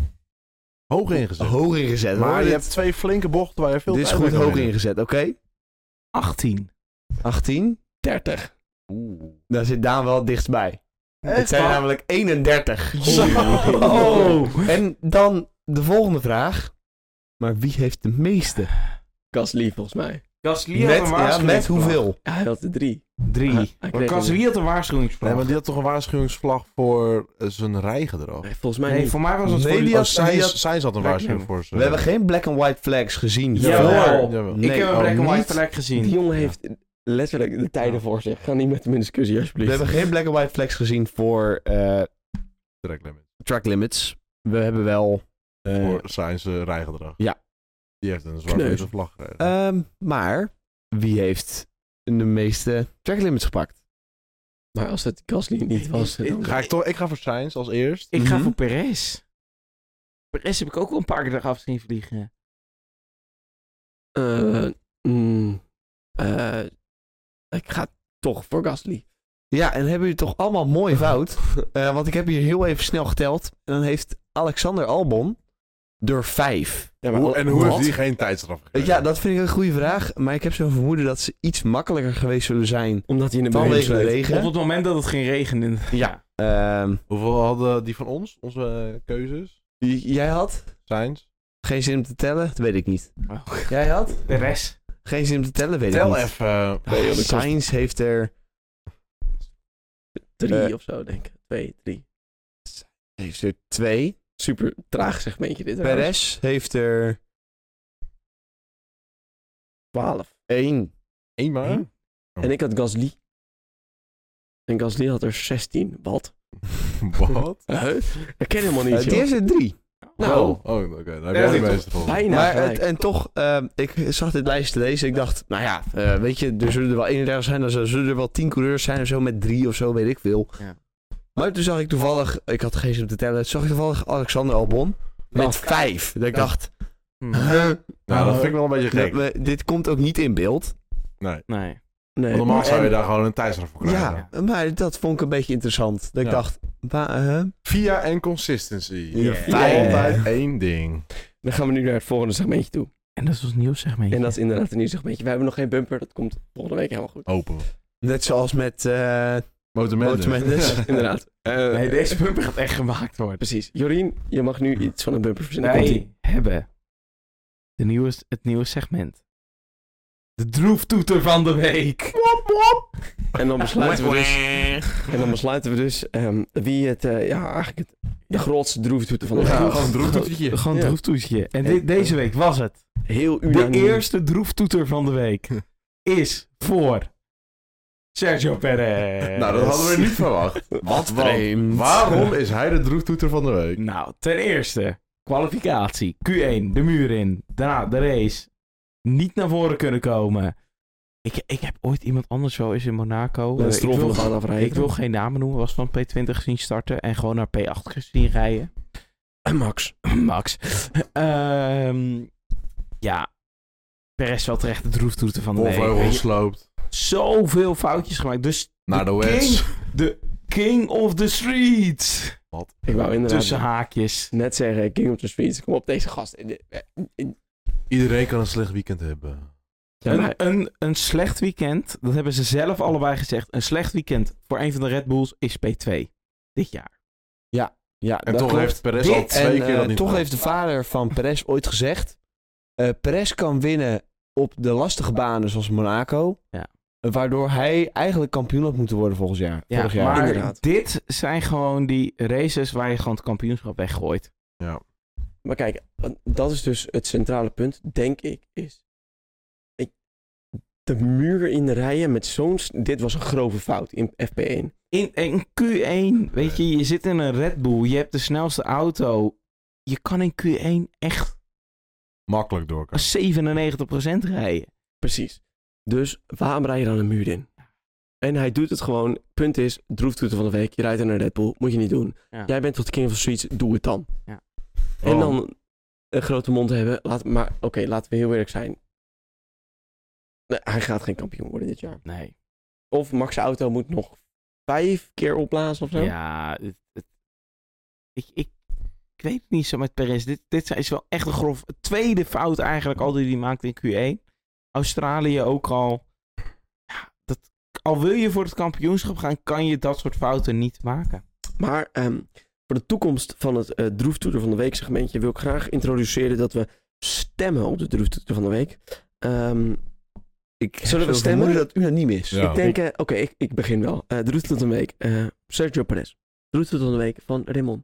[SPEAKER 3] Hoog ingezet.
[SPEAKER 4] Hoog ingezet.
[SPEAKER 3] maar
[SPEAKER 4] hoor.
[SPEAKER 3] je hebt twee flinke bochten waar je veel
[SPEAKER 4] Dit is
[SPEAKER 3] tijd
[SPEAKER 4] goed
[SPEAKER 3] mee kan
[SPEAKER 4] hoog
[SPEAKER 3] winnen.
[SPEAKER 4] ingezet, oké?
[SPEAKER 2] 18.
[SPEAKER 4] 18.
[SPEAKER 1] 30.
[SPEAKER 4] Daar zit Daan wel dichtbij. Het zijn
[SPEAKER 2] waar?
[SPEAKER 4] namelijk 31.
[SPEAKER 2] Zo.
[SPEAKER 1] Oh.
[SPEAKER 2] Oh!
[SPEAKER 4] En dan de volgende vraag. Maar wie heeft de meeste?
[SPEAKER 1] Gasly volgens mij.
[SPEAKER 2] Gasly had
[SPEAKER 4] Met,
[SPEAKER 2] een
[SPEAKER 4] ja,
[SPEAKER 2] waarschuwingsvlag.
[SPEAKER 4] met hoeveel?
[SPEAKER 1] Ja, hij had de drie. Ah,
[SPEAKER 2] Drie.
[SPEAKER 1] hij
[SPEAKER 2] Maar
[SPEAKER 1] kreeg
[SPEAKER 2] Gasly had een waarschuwingsvlag.
[SPEAKER 3] Nee, maar die had toch een waarschuwingsvlag voor eh, zijn rijgedrag?
[SPEAKER 1] Nee, volgens mij
[SPEAKER 2] Nee,
[SPEAKER 1] niet.
[SPEAKER 2] voor mij was het
[SPEAKER 4] Nee,
[SPEAKER 2] voor-
[SPEAKER 4] die
[SPEAKER 3] Oh,
[SPEAKER 4] had-
[SPEAKER 3] zij,
[SPEAKER 4] die had-
[SPEAKER 3] zij zat een
[SPEAKER 2] Black
[SPEAKER 3] waarschuwing
[SPEAKER 2] Mirror.
[SPEAKER 3] voor ze.
[SPEAKER 4] We hebben geen black and white flags gezien.
[SPEAKER 2] Jawel.
[SPEAKER 4] Voor-
[SPEAKER 3] Jawel.
[SPEAKER 4] Nee,
[SPEAKER 2] ik heb een
[SPEAKER 4] oh,
[SPEAKER 2] black and white
[SPEAKER 4] niet.
[SPEAKER 2] plek gezien.
[SPEAKER 1] Die jongen heeft letterlijk de tijden voor zich. Ga niet met hem in discussie,
[SPEAKER 4] We
[SPEAKER 1] alsjeblieft.
[SPEAKER 4] hebben geen black and white flags gezien voor eh,
[SPEAKER 3] Direct limit.
[SPEAKER 4] track limits. We hebben wel. eh,
[SPEAKER 3] Voor Sainz eh, rijgedrag.
[SPEAKER 4] Ja.
[SPEAKER 3] Die heeft een
[SPEAKER 1] Kneus.
[SPEAKER 3] zwarte vlag gekregen.
[SPEAKER 4] ehm, maar wie heeft de meeste track limits gepakt?
[SPEAKER 1] Maar als het Gasly niet was...
[SPEAKER 2] Ik-
[SPEAKER 1] dan-
[SPEAKER 3] ga ik, toch, ik ga voor Sainz als eerst.
[SPEAKER 2] Ik ga
[SPEAKER 4] Mhm.
[SPEAKER 2] voor Perez. Perez heb ik ook al een paar keer eraf zien vliegen.
[SPEAKER 1] Eh, mm, eh, ik ga toch voor Gasly.
[SPEAKER 4] Ja, en hebben jullie toch allemaal mooi fout? Eh, want ik heb hier heel even snel geteld. En dan heeft Alexander Albon er vijf.
[SPEAKER 1] Ja,
[SPEAKER 3] Hoe- en hoe
[SPEAKER 4] wat? Eh,
[SPEAKER 3] heeft die geen tijdstraf gekregen?
[SPEAKER 4] Ja, dat vind ik een goede vraag. Maar ik heb zo'n vermoeden dat ze iets makkelijker geweest zullen zijn
[SPEAKER 1] Omdat hij in de beweging
[SPEAKER 4] vanwege de
[SPEAKER 1] sleept.
[SPEAKER 4] regen.
[SPEAKER 2] Op het moment dat het ging regenen.
[SPEAKER 4] Ja. Ehm,
[SPEAKER 3] Hoeveel hadden die van ons? Onze eh, keuzes?
[SPEAKER 4] j- jij had
[SPEAKER 3] Sainz?
[SPEAKER 4] geen zin om te tellen? Dat weet ik niet.
[SPEAKER 2] Oh.
[SPEAKER 4] Jij had
[SPEAKER 2] Perez.
[SPEAKER 4] geen zin om te tellen? Weet ik
[SPEAKER 3] Tel
[SPEAKER 4] niet.
[SPEAKER 3] even. eh,
[SPEAKER 1] Nee, joh, dat kost
[SPEAKER 4] Sainz heeft er...
[SPEAKER 1] drie
[SPEAKER 4] Eh.
[SPEAKER 1] of zo, denk ik. Twee, drie.
[SPEAKER 4] Heeft er twee.
[SPEAKER 1] Super traag segmentje dit. trouwens.
[SPEAKER 4] Perez heeft er
[SPEAKER 1] Twaalf.
[SPEAKER 4] één.
[SPEAKER 3] één maar.
[SPEAKER 2] Eén?
[SPEAKER 1] En ik had Gasly. En Gasly had er 16. Wat?
[SPEAKER 3] Wat?
[SPEAKER 1] Huh? Ik ken helemaal
[SPEAKER 4] Eh,
[SPEAKER 1] niet,
[SPEAKER 4] die
[SPEAKER 1] joh.
[SPEAKER 4] heeft er drie.
[SPEAKER 1] Nou,
[SPEAKER 3] Oh, oh, oké.
[SPEAKER 2] Ja,
[SPEAKER 3] Daar heb jij
[SPEAKER 2] dit
[SPEAKER 3] de
[SPEAKER 2] is
[SPEAKER 3] meeste van.
[SPEAKER 1] bijna
[SPEAKER 4] maar
[SPEAKER 1] gelijk.
[SPEAKER 4] het- en toch, ehm, ik zag dit lijstje lezen. Ik dacht, nou ja, eh, weet je, er zullen er wel 31 zijn. Dan zullen er wel 10 coureurs zijn of zo met drie of zo, weet ik veel.
[SPEAKER 2] Ja.
[SPEAKER 4] Maar toen zag ik toevallig, ik had geen zin om te tellen. Toen zag ik toevallig Alexander Albon met vijf. Dat ik
[SPEAKER 3] Ja.
[SPEAKER 4] dacht,
[SPEAKER 2] Hm.
[SPEAKER 4] huh?
[SPEAKER 3] Nou, dat vind ik wel een beetje
[SPEAKER 4] Dat
[SPEAKER 3] gek.
[SPEAKER 4] we- dit komt ook niet in beeld.
[SPEAKER 2] Nee.
[SPEAKER 1] nee.
[SPEAKER 3] Want normaal zou je
[SPEAKER 1] En-
[SPEAKER 3] daar gewoon een tijdstraf voor krijgen.
[SPEAKER 4] Ja, maar dat vond ik een beetje interessant. Dat ik
[SPEAKER 3] Ja.
[SPEAKER 4] dacht, wa- eh, huh?
[SPEAKER 3] Via en consistency.
[SPEAKER 4] Ja,
[SPEAKER 1] fijn.
[SPEAKER 3] Altijd één ding.
[SPEAKER 1] Dan gaan we nu naar het volgende segmentje toe.
[SPEAKER 2] En dat is ons nieuws segmentje.
[SPEAKER 1] En dat is inderdaad een nieuw segmentje. We hebben nog geen bumper. Dat komt volgende week helemaal goed.
[SPEAKER 3] Open.
[SPEAKER 4] net zoals met... eh,
[SPEAKER 3] Motor
[SPEAKER 4] Mendes. Motor Mendes.
[SPEAKER 3] Ja.
[SPEAKER 1] Inderdaad. Eh,
[SPEAKER 2] Nee, deze bumper gaat echt gemaakt worden.
[SPEAKER 1] Precies. Jorien, je mag nu iets van een bumper verzinnen. Komt-ie.
[SPEAKER 2] Wij hebben de nieuwe, het nieuwe segment. De droeftoeter van de week.
[SPEAKER 1] En dan besluiten we dus, en dan besluiten we dus ehm, wie het, eh, ja, eigenlijk het, de grootste droeftoeter van de
[SPEAKER 3] Ja,
[SPEAKER 1] dag.
[SPEAKER 3] gewoon een droeftoetertje.
[SPEAKER 2] Gewoon een
[SPEAKER 1] Ja.
[SPEAKER 2] droeftoetje. En dit- deze week was het.
[SPEAKER 1] Heel
[SPEAKER 2] De
[SPEAKER 1] unaniem.
[SPEAKER 2] eerste droeftoeter van de week
[SPEAKER 1] Hm.
[SPEAKER 2] is voor Sergio Perez.
[SPEAKER 3] Nou, dat hadden we niet verwacht.
[SPEAKER 4] Wat
[SPEAKER 3] Want
[SPEAKER 4] vreemd.
[SPEAKER 3] Waarom is hij de droeftoeter van de week?
[SPEAKER 2] Nou, ten eerste, kwalificatie. Q1, de muur in. Daarna de race. Niet naar voren kunnen komen. Ik, ik heb ooit iemand anders wel eens in Monaco.
[SPEAKER 1] Dat
[SPEAKER 2] eh,
[SPEAKER 1] is
[SPEAKER 2] ik, wil,
[SPEAKER 1] gaan afrijden.
[SPEAKER 2] ik wil geen namen noemen. Was van P20 gezien starten en gewoon naar P8 gezien rijden.
[SPEAKER 1] Max.
[SPEAKER 2] Max. Ehm, ja. Perez wel terecht de droeftoeter van de week.
[SPEAKER 3] Wolfheuvel
[SPEAKER 2] Weet je,
[SPEAKER 3] sloopt
[SPEAKER 2] Zoveel foutjes gemaakt. Dus
[SPEAKER 3] naar de
[SPEAKER 2] king,
[SPEAKER 3] wets.
[SPEAKER 2] de king of the streets.
[SPEAKER 1] Ik wou inderdaad
[SPEAKER 2] Tussen haakjes.
[SPEAKER 1] net zeggen, King of the Streets, kom op deze gast. Eh, eh, eh,
[SPEAKER 3] Iedereen kan een slecht weekend hebben.
[SPEAKER 1] Ja,
[SPEAKER 2] een,
[SPEAKER 1] maar-
[SPEAKER 2] een, een slecht weekend, dat hebben ze zelf allebei gezegd. Een slecht weekend voor een van de Red Bulls is P2 dit jaar.
[SPEAKER 4] Ja,
[SPEAKER 3] En
[SPEAKER 4] dat
[SPEAKER 3] toch
[SPEAKER 4] klopt.
[SPEAKER 3] heeft Perez al
[SPEAKER 4] Dit
[SPEAKER 3] twee
[SPEAKER 4] en,
[SPEAKER 3] keer dat
[SPEAKER 4] eh,
[SPEAKER 3] niet
[SPEAKER 4] Toch
[SPEAKER 3] gedaan.
[SPEAKER 4] heeft de vader van Perez ooit gezegd... eh, Perez kan winnen op de lastige banen zoals Monaco...
[SPEAKER 2] Ja.
[SPEAKER 4] waardoor hij eigenlijk kampioen had moeten worden volgens jaar,
[SPEAKER 2] Ja,
[SPEAKER 4] vorig jaar.
[SPEAKER 2] maar
[SPEAKER 1] Inderdaad.
[SPEAKER 2] dit zijn gewoon die races waar je gewoon het kampioenschap weggooit.
[SPEAKER 1] Maar kijk, dat is dus het centrale punt, denk ik, is... Ik, de muur in rijden met zo'n... s- Dit was een grove fout in FP1.
[SPEAKER 2] In, in Q1, weet je, je zit in een Red Bull, je hebt de snelste auto. Je kan in Q1 echt
[SPEAKER 3] Makkelijk door. elkaar.
[SPEAKER 2] 97% rijden.
[SPEAKER 1] Precies. Dus waarom rij je dan een muur in? En hij doet het gewoon. Punt is, droeftoeter van de week. Je rijdt naar een Red Bull. Moet je niet doen.
[SPEAKER 2] Ja.
[SPEAKER 1] Jij bent tot de king of the streets. Doe het dan.
[SPEAKER 2] Ja.
[SPEAKER 1] En
[SPEAKER 3] Oh.
[SPEAKER 1] dan een grote mond hebben. Laat, maar oké, laten we heel eerlijk zijn. Nee, hij gaat geen kampioen worden dit jaar.
[SPEAKER 2] Nee.
[SPEAKER 1] Of Max Auto moet nog vijf keer opblazen of zo.
[SPEAKER 2] Ja, het- het- ik, ik, ik weet het niet zo met Perez. Dit, dit is wel echt een grof. Tweede fout eigenlijk al die hij maakt in Q1. Australië ook al. Ja, dat, al wil je voor het kampioenschap gaan, kan je dat soort fouten niet maken.
[SPEAKER 1] Maar ehm, voor de toekomst van het eh Droeftoeter van de Week segmentje wil ik graag introduceren dat we stemmen op de Droeftoeter van de Week. Ehm,
[SPEAKER 4] Ik heb
[SPEAKER 1] Zullen we
[SPEAKER 4] zo'n
[SPEAKER 1] stemmen?
[SPEAKER 4] vermoeden dat het unaniem is.
[SPEAKER 3] Ja.
[SPEAKER 1] Ik denk, eh, oké, ik, ik begin wel. Eh de route tot een week. eh, Sergio Perez. De route tot een week van Raymond.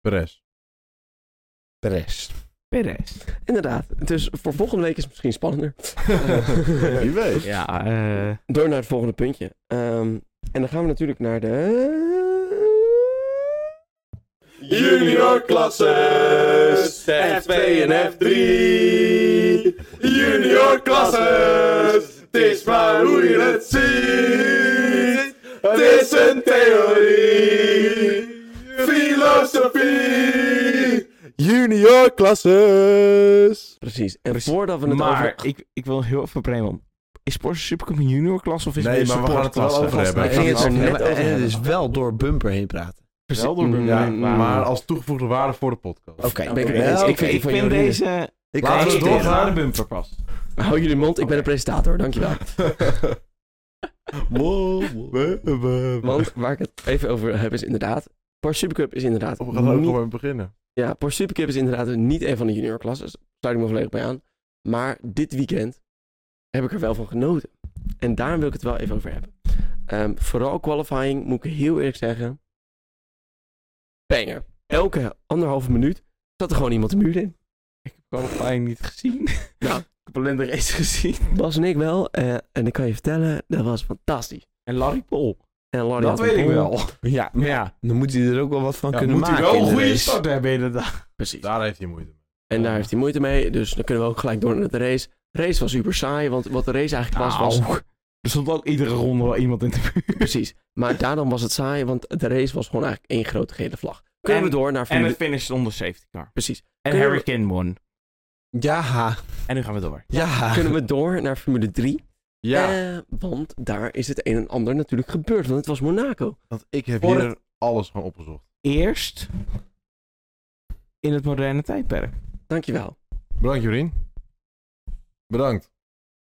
[SPEAKER 3] Perez.
[SPEAKER 4] Perez.
[SPEAKER 2] Perez.
[SPEAKER 1] Inderdaad. Dus voor volgende week is het misschien spannender.
[SPEAKER 3] Wie weet.
[SPEAKER 2] Ja, eh,
[SPEAKER 1] Door naar het volgende puntje. Ehm, en dan gaan we natuurlijk naar de...
[SPEAKER 5] Junior klasses, F2 en F3. Junior klasses, het is maar hoe je het ziet. Het is een theorie, filosofie.
[SPEAKER 3] Junior klasses.
[SPEAKER 1] Precies. En
[SPEAKER 2] Precies.
[SPEAKER 1] voordat we het over...
[SPEAKER 2] maar ik, ik wil heel even Raymond. Is Porsche Supercup een junior klas of is
[SPEAKER 3] Nee,
[SPEAKER 2] het een
[SPEAKER 3] maar we gaan het er wel
[SPEAKER 2] supportklasse?
[SPEAKER 3] over hebben.
[SPEAKER 1] Ik ging het er net over
[SPEAKER 4] en het
[SPEAKER 1] hebben.
[SPEAKER 4] is wel door bumper heen praten.
[SPEAKER 2] Wel door
[SPEAKER 1] Mm,
[SPEAKER 3] Ja,
[SPEAKER 1] mm,
[SPEAKER 3] maar als toegevoegde waarde voor de podcast.
[SPEAKER 4] Oké.
[SPEAKER 1] ben ik het
[SPEAKER 4] Ja,
[SPEAKER 1] eens.
[SPEAKER 4] oké.
[SPEAKER 1] Ik vind, die
[SPEAKER 2] Ik
[SPEAKER 1] van
[SPEAKER 2] vind
[SPEAKER 1] Jorien-
[SPEAKER 2] deze...
[SPEAKER 4] Ik
[SPEAKER 3] Laten we
[SPEAKER 4] accepteer het.
[SPEAKER 3] doorgaan.
[SPEAKER 2] de bumper pas.
[SPEAKER 1] Hou jullie mond, ik ben de presentator. Dankjewel. Want waar ik het even over heb is inderdaad... Porsche Supercup is inderdaad
[SPEAKER 3] We gaan er ook
[SPEAKER 1] niet
[SPEAKER 3] gewoon mee beginnen.
[SPEAKER 1] Ja, Porsche Supercup is inderdaad niet een van de juniorklassen. Sluit ik me volledig bij aan. Maar dit weekend heb ik er wel van genoten. En daarom wil ik het wel even over hebben. Ehm, vooral qualifying, moet ik heel eerlijk zeggen. Banger. Elke anderhalve minuut zat er gewoon iemand de muur in.
[SPEAKER 2] Ik heb qualifying niet gezien.
[SPEAKER 1] Nou.
[SPEAKER 2] ik heb alleen de race gezien.
[SPEAKER 1] Bas en ik wel. eh, en ik kan je vertellen, dat was fantastisch.
[SPEAKER 2] En Larry Paul.
[SPEAKER 1] En Larry
[SPEAKER 2] Dat
[SPEAKER 1] had een
[SPEAKER 2] weet ik
[SPEAKER 1] bom.
[SPEAKER 2] wel.
[SPEAKER 4] Ja,
[SPEAKER 2] Maar ja,
[SPEAKER 4] dan moet hij er ook wel wat van
[SPEAKER 2] ja,
[SPEAKER 4] kunnen
[SPEAKER 2] moet hij
[SPEAKER 4] maken.
[SPEAKER 2] wel
[SPEAKER 4] in
[SPEAKER 2] een
[SPEAKER 4] de
[SPEAKER 2] goede
[SPEAKER 4] race.
[SPEAKER 2] start hebben inderdaad.
[SPEAKER 1] Precies.
[SPEAKER 3] Daar heeft hij moeite mee.
[SPEAKER 1] En daar heeft hij moeite mee. Dus dan kunnen we ook gelijk door naar de race. Race was super saai, want wat de race eigenlijk was, was
[SPEAKER 2] Nou, Er stond ook iedere ronde wel iemand in de buurt.
[SPEAKER 1] Precies. Maar daarom was het saai, want de race was gewoon eigenlijk één grote gele vlag. Kunnen
[SPEAKER 2] En-
[SPEAKER 1] we door naar
[SPEAKER 2] En
[SPEAKER 1] Formule
[SPEAKER 2] het finished onder safety car.
[SPEAKER 1] Precies.
[SPEAKER 2] En
[SPEAKER 1] Kunnen we-
[SPEAKER 2] Harry Kane won.
[SPEAKER 4] Ja,
[SPEAKER 2] En nu gaan we door.
[SPEAKER 4] ja.
[SPEAKER 1] Kunnen we door naar Formule 3?
[SPEAKER 3] Ja,
[SPEAKER 1] Eh, want daar is het een en ander natuurlijk gebeurd, want het was Monaco.
[SPEAKER 3] want ik heb
[SPEAKER 2] Voor
[SPEAKER 3] hier alles gewoon opgezocht.
[SPEAKER 2] Eerst in het moderne tijdperk.
[SPEAKER 1] Dankjewel.
[SPEAKER 3] Bedankt Jorien. Bedankt.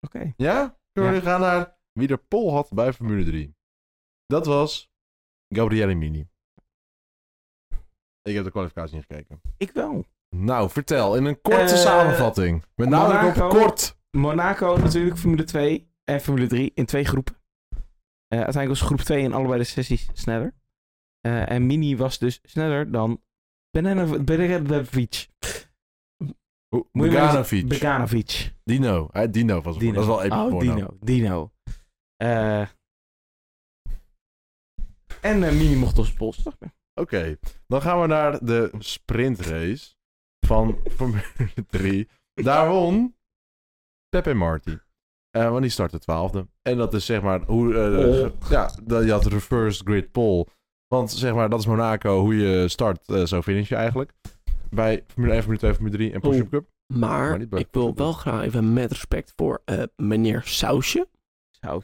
[SPEAKER 2] Oké.
[SPEAKER 3] Ja? Kunnen we
[SPEAKER 2] Ja.
[SPEAKER 3] nu gaan naar wie de pol had bij Formule 3? Dat was Gabriele Mini. Ik heb de kwalificatie niet gekeken.
[SPEAKER 2] Ik wel.
[SPEAKER 3] Nou, vertel in een korte
[SPEAKER 2] Eh,
[SPEAKER 3] samenvatting. Met name op
[SPEAKER 2] Monaco.
[SPEAKER 3] kort.
[SPEAKER 2] Monaco natuurlijk, Formule 2 en Formule 3 in twee groepen. Eh, uiteindelijk was groep 2 in allebei de sessies sneller. Eh, en Mini was dus sneller dan Benenovic.
[SPEAKER 3] Hoe-
[SPEAKER 2] Moet je maar eens-
[SPEAKER 3] Beganovic.
[SPEAKER 2] Beganovic.
[SPEAKER 3] Dino. Hè, Dino was het.
[SPEAKER 2] Dino.
[SPEAKER 3] Dat is wel epic
[SPEAKER 2] Oh,
[SPEAKER 3] voornaam.
[SPEAKER 2] Dino. Dino. Eh, en eh, Mini mocht als polster.
[SPEAKER 3] Oké, dan gaan we naar de sprintrace van Formule 3. Daar won Pepe Marti. Eh, want die startte twaalfde. En dat is zeg maar hoe... eh, ge- Ja, dat, je had reverse grid pole. Want zeg maar, dat is Monaco. Hoe je start, eh, zo finish je eigenlijk. Bij Formule 1, Formule 2, Formule 3 en Porsche
[SPEAKER 1] Oh.
[SPEAKER 3] Cup.
[SPEAKER 1] Maar
[SPEAKER 3] Maar niet bij-
[SPEAKER 1] ik wil wel graag even met respect voor eh, meneer Sausje.
[SPEAKER 2] Zo,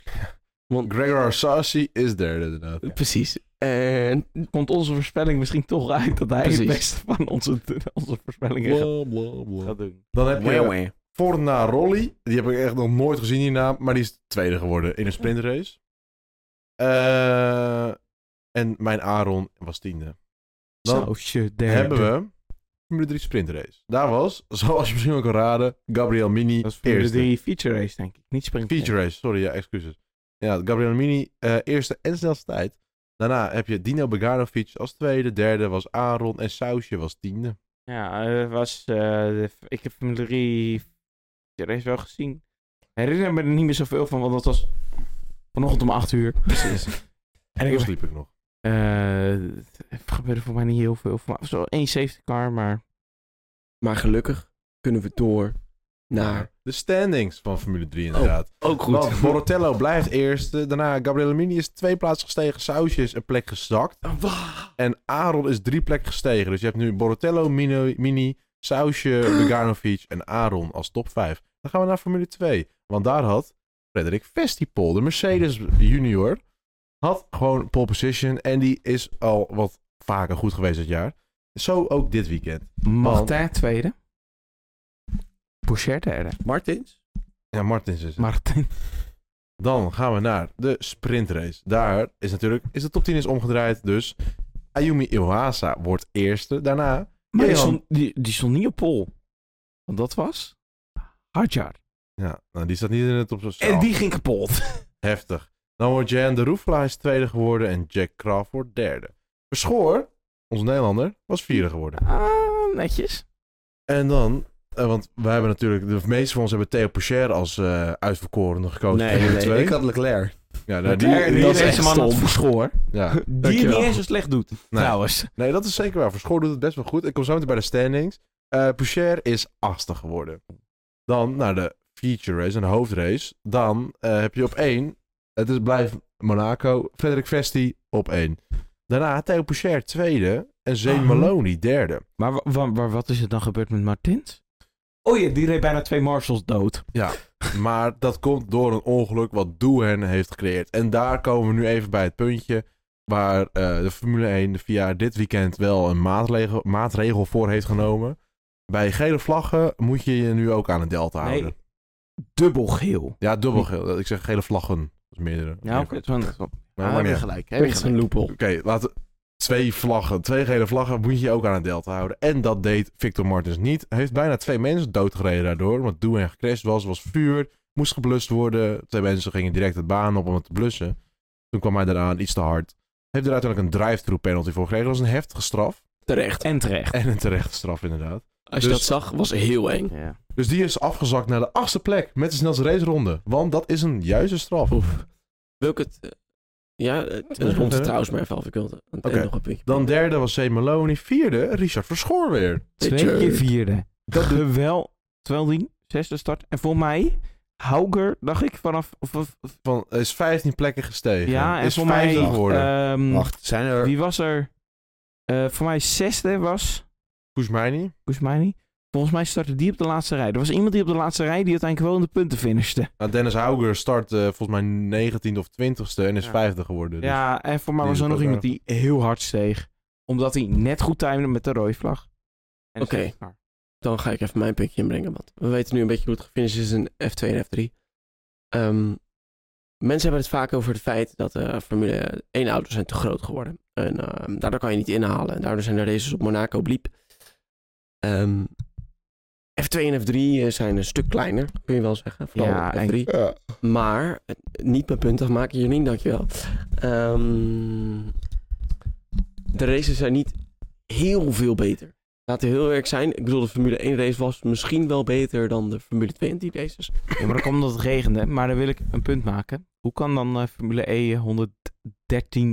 [SPEAKER 3] Gregor Sassi is derde inderdaad.
[SPEAKER 1] Eh, Precies. En
[SPEAKER 2] komt onze voorspelling misschien toch uit dat hij
[SPEAKER 1] Precies.
[SPEAKER 2] het beste van onze, onze voorspellingen gaat,
[SPEAKER 3] Bla, bla, bla.
[SPEAKER 2] gaat doen.
[SPEAKER 3] Dan heb je Fornaroli. Die heb ik echt nog nooit gezien hierna. Maar die is tweede geworden in een sprintrace. Eh, en mijn Aaron was tiende. Dan
[SPEAKER 2] Zo, shit, derde.
[SPEAKER 3] hebben we Formule 3 sprintrace. Daar was, zoals je misschien wel kan raden, Gabriel Mini
[SPEAKER 2] Dat is voor de
[SPEAKER 3] eerste.
[SPEAKER 2] drie feature race, denk ik. Niet sprint.
[SPEAKER 3] Feature race, sorry, ja, excuses. Ja, Gabriel Mini, eh, eerste en snelste tijd. Daarna heb je Dino Beganovic als tweede. Derde was Aaron en Sausje was tiende.
[SPEAKER 2] Ja, eh, was, eh, de- ik heb Formule 3 feature race wel gezien. Herinner me er niet meer zoveel van, want dat was vanochtend om 8 uur. Precies. en ik
[SPEAKER 3] Toen
[SPEAKER 2] heb,
[SPEAKER 3] sliep ik nog.
[SPEAKER 2] eh, er gebeurde voor mij niet heel veel. Voor mij was wel één safety car, maar
[SPEAKER 1] Maar gelukkig kunnen we door naar...
[SPEAKER 3] De standings van Formule 3 inderdaad.
[SPEAKER 1] Ook
[SPEAKER 3] Want Boratello blijft eerste. Daarna Gabriel Mini is twee plaatsen gestegen. Sausje is een plek gezakt. En Aaron is drie plekken gestegen. Dus je hebt nu Boratello, Mini, Mini Sausje, Beganovic en Aaron als top 5. Dan gaan we naar Formule 2. Want daar had Frederik Vestipol, de Mercedes junior, had gewoon pole position. En die is al wat vaker goed geweest dit jaar. Zo ook dit weekend.
[SPEAKER 2] Martin tweede. Boucher derde.
[SPEAKER 1] Martins?
[SPEAKER 3] Ja, Martins is het.
[SPEAKER 2] Martin.
[SPEAKER 3] Dan gaan we naar de sprintrace. Daar is natuurlijk is de top 10 is omgedraaid. Dus Ayumi Iwasa wordt eerste. Daarna
[SPEAKER 2] Maar die
[SPEAKER 3] Johan.
[SPEAKER 2] stond, die, die stond niet op pol. Want dat was Hadjar.
[SPEAKER 3] Ja, nou, die staat niet in de top 6.
[SPEAKER 2] En die ging kapot.
[SPEAKER 3] Heftig. Dan wordt Jan de Roefla is tweede geworden en Jack Crawford derde. Verschoor, onze Nederlander, was vierde geworden.
[SPEAKER 2] Ah, netjes.
[SPEAKER 3] En dan, eh, want wij hebben natuurlijk, de meeste van ons hebben Theo Pocher als eh uitverkorene
[SPEAKER 2] Oh,
[SPEAKER 3] gekozen. voor nummer twee.
[SPEAKER 4] ik had Leclerc.
[SPEAKER 3] Ja, nou,
[SPEAKER 2] Dat
[SPEAKER 3] die,
[SPEAKER 2] die,
[SPEAKER 3] dat is
[SPEAKER 2] deze
[SPEAKER 3] echt
[SPEAKER 2] man had
[SPEAKER 3] stom.
[SPEAKER 2] verschoor.
[SPEAKER 3] Ja.
[SPEAKER 2] Die het
[SPEAKER 3] Dankjewel.
[SPEAKER 2] niet eens zo slecht doet. Trouwens.
[SPEAKER 3] Nee, dat is zeker waar. Verschoor doet het best wel goed. Ik kom zo meteen bij de standings. Eh Poucher is achtste geworden. Dan naar de feature race en de hoofdrace. Dan eh, heb je op één, het is blijft Monaco, Frederik Vesti op één. Daarna Theo Poucher tweede en Zane
[SPEAKER 2] Ah.
[SPEAKER 3] Maloney derde.
[SPEAKER 2] Maar, wa- wa- wa- wat is er dan gebeurd met Martins? Oh ja, die reed bijna twee Marshals dood.
[SPEAKER 3] Maar dat komt door een ongeluk wat Doohan heeft gecreëerd. En daar komen we nu even bij het puntje waar eh, de Formule 1 de VIA dit weekend wel een maatregel, maatregel voor heeft genomen. Bij gele vlaggen moet je je nu ook aan het delta
[SPEAKER 2] Nee.
[SPEAKER 3] houden.
[SPEAKER 2] Dubbel geel.
[SPEAKER 3] Ja, dubbel geel. Ik zeg gele vlaggen. Dat is meerdere.
[SPEAKER 2] Ja, oké.
[SPEAKER 3] oké.
[SPEAKER 2] dat is wel-
[SPEAKER 3] Nou,
[SPEAKER 2] Ah,
[SPEAKER 3] maakt
[SPEAKER 2] heb
[SPEAKER 3] niet
[SPEAKER 2] je
[SPEAKER 3] uit.
[SPEAKER 2] gelijk. Heb je
[SPEAKER 1] Dat is
[SPEAKER 2] gelijk.
[SPEAKER 1] een loophole.
[SPEAKER 3] Oké, laten twee vlaggen, twee gele vlaggen moet je je ook aan het delta houden. En dat deed Victor Martens niet. Hij heeft bijna twee mensen doodgereden daardoor, want Doohan gecrashed was, was vuur, moest geblust worden. Twee mensen gingen direct de baan op om het te blussen. Toen kwam hij daaraan iets te hard. Heeft er uiteindelijk een drive-through penalty voor gekregen. Dat was een heftige straf.
[SPEAKER 1] Terecht.
[SPEAKER 2] En terecht.
[SPEAKER 3] En een terechte straf, inderdaad.
[SPEAKER 1] Als je
[SPEAKER 3] Dus-
[SPEAKER 1] dat zag, was heel eng.
[SPEAKER 2] Ja.
[SPEAKER 3] Dus die is afgezakt naar de achtste plek met de snelste raceronde. Want dat is een juiste straf.
[SPEAKER 1] Oef. Wil ik het... eh, Ja, het
[SPEAKER 3] Ja,
[SPEAKER 1] rond
[SPEAKER 3] ja.
[SPEAKER 1] het trouwens maar even af. Ik wilde aan het
[SPEAKER 3] Oké.
[SPEAKER 1] eind nog een puntje.
[SPEAKER 3] Dan derde was C. Maloney. Vierde, Richard Verschoor weer.
[SPEAKER 2] Twee keer vierde. Dat doet wel. Terwijl die zesde start. En voor mij, Hauger, dacht ik, vanaf... Of, of- of-
[SPEAKER 3] Van, is 15 plekken gestegen.
[SPEAKER 2] ja, en
[SPEAKER 3] is
[SPEAKER 2] voor mij...
[SPEAKER 3] vijfde geworden.
[SPEAKER 2] ehm,
[SPEAKER 4] Wacht, zijn er...
[SPEAKER 2] Wie was er? Eh, voor mij zesde was...
[SPEAKER 3] Koesmijni.
[SPEAKER 2] Volgens mij niet. Volgens mij startte die op de laatste rij. Er was iemand die op de laatste rij die uiteindelijk wel in de punten finishte.
[SPEAKER 3] Nou, Dennis Hauger start eh, volgens mij 19e of 20e en is
[SPEAKER 2] Ja.
[SPEAKER 3] vijfde geworden. Dus.
[SPEAKER 2] Ja, en voor mij
[SPEAKER 3] die
[SPEAKER 2] was
[SPEAKER 3] is
[SPEAKER 2] er nog
[SPEAKER 3] ook
[SPEAKER 2] iemand die heel hard steeg. Omdat hij net goed timde met de rode vlag. En
[SPEAKER 1] Oké.
[SPEAKER 2] dus- maar-
[SPEAKER 1] Dan ga ik even mijn puntje inbrengen, want we weten nu een beetje hoe het gefinished is in F2 en F3. Ehm, mensen hebben het vaak over het feit dat eh Formule 1 auto's zijn te groot geworden. En ehm, daardoor kan je niet inhalen. En daardoor zijn de races op Monaco bliep. Ehm, F2 en F3 eh, zijn een stuk kleiner, kun je wel zeggen. Vooral
[SPEAKER 2] Ja, en-
[SPEAKER 1] F3.
[SPEAKER 4] Ja.
[SPEAKER 1] Maar eh, niet mijn punt afmaken, Janine, dankjewel. Ehm, de races zijn niet heel veel beter. Laten we heel eerlijk zijn. Ik bedoel, de Formule 1 race was misschien wel beter dan de Formule 2 en die races.
[SPEAKER 2] Ja, maar dat komt omdat het regende. Maar dan wil ik een punt maken. Hoe kan dan eh, Formule E 113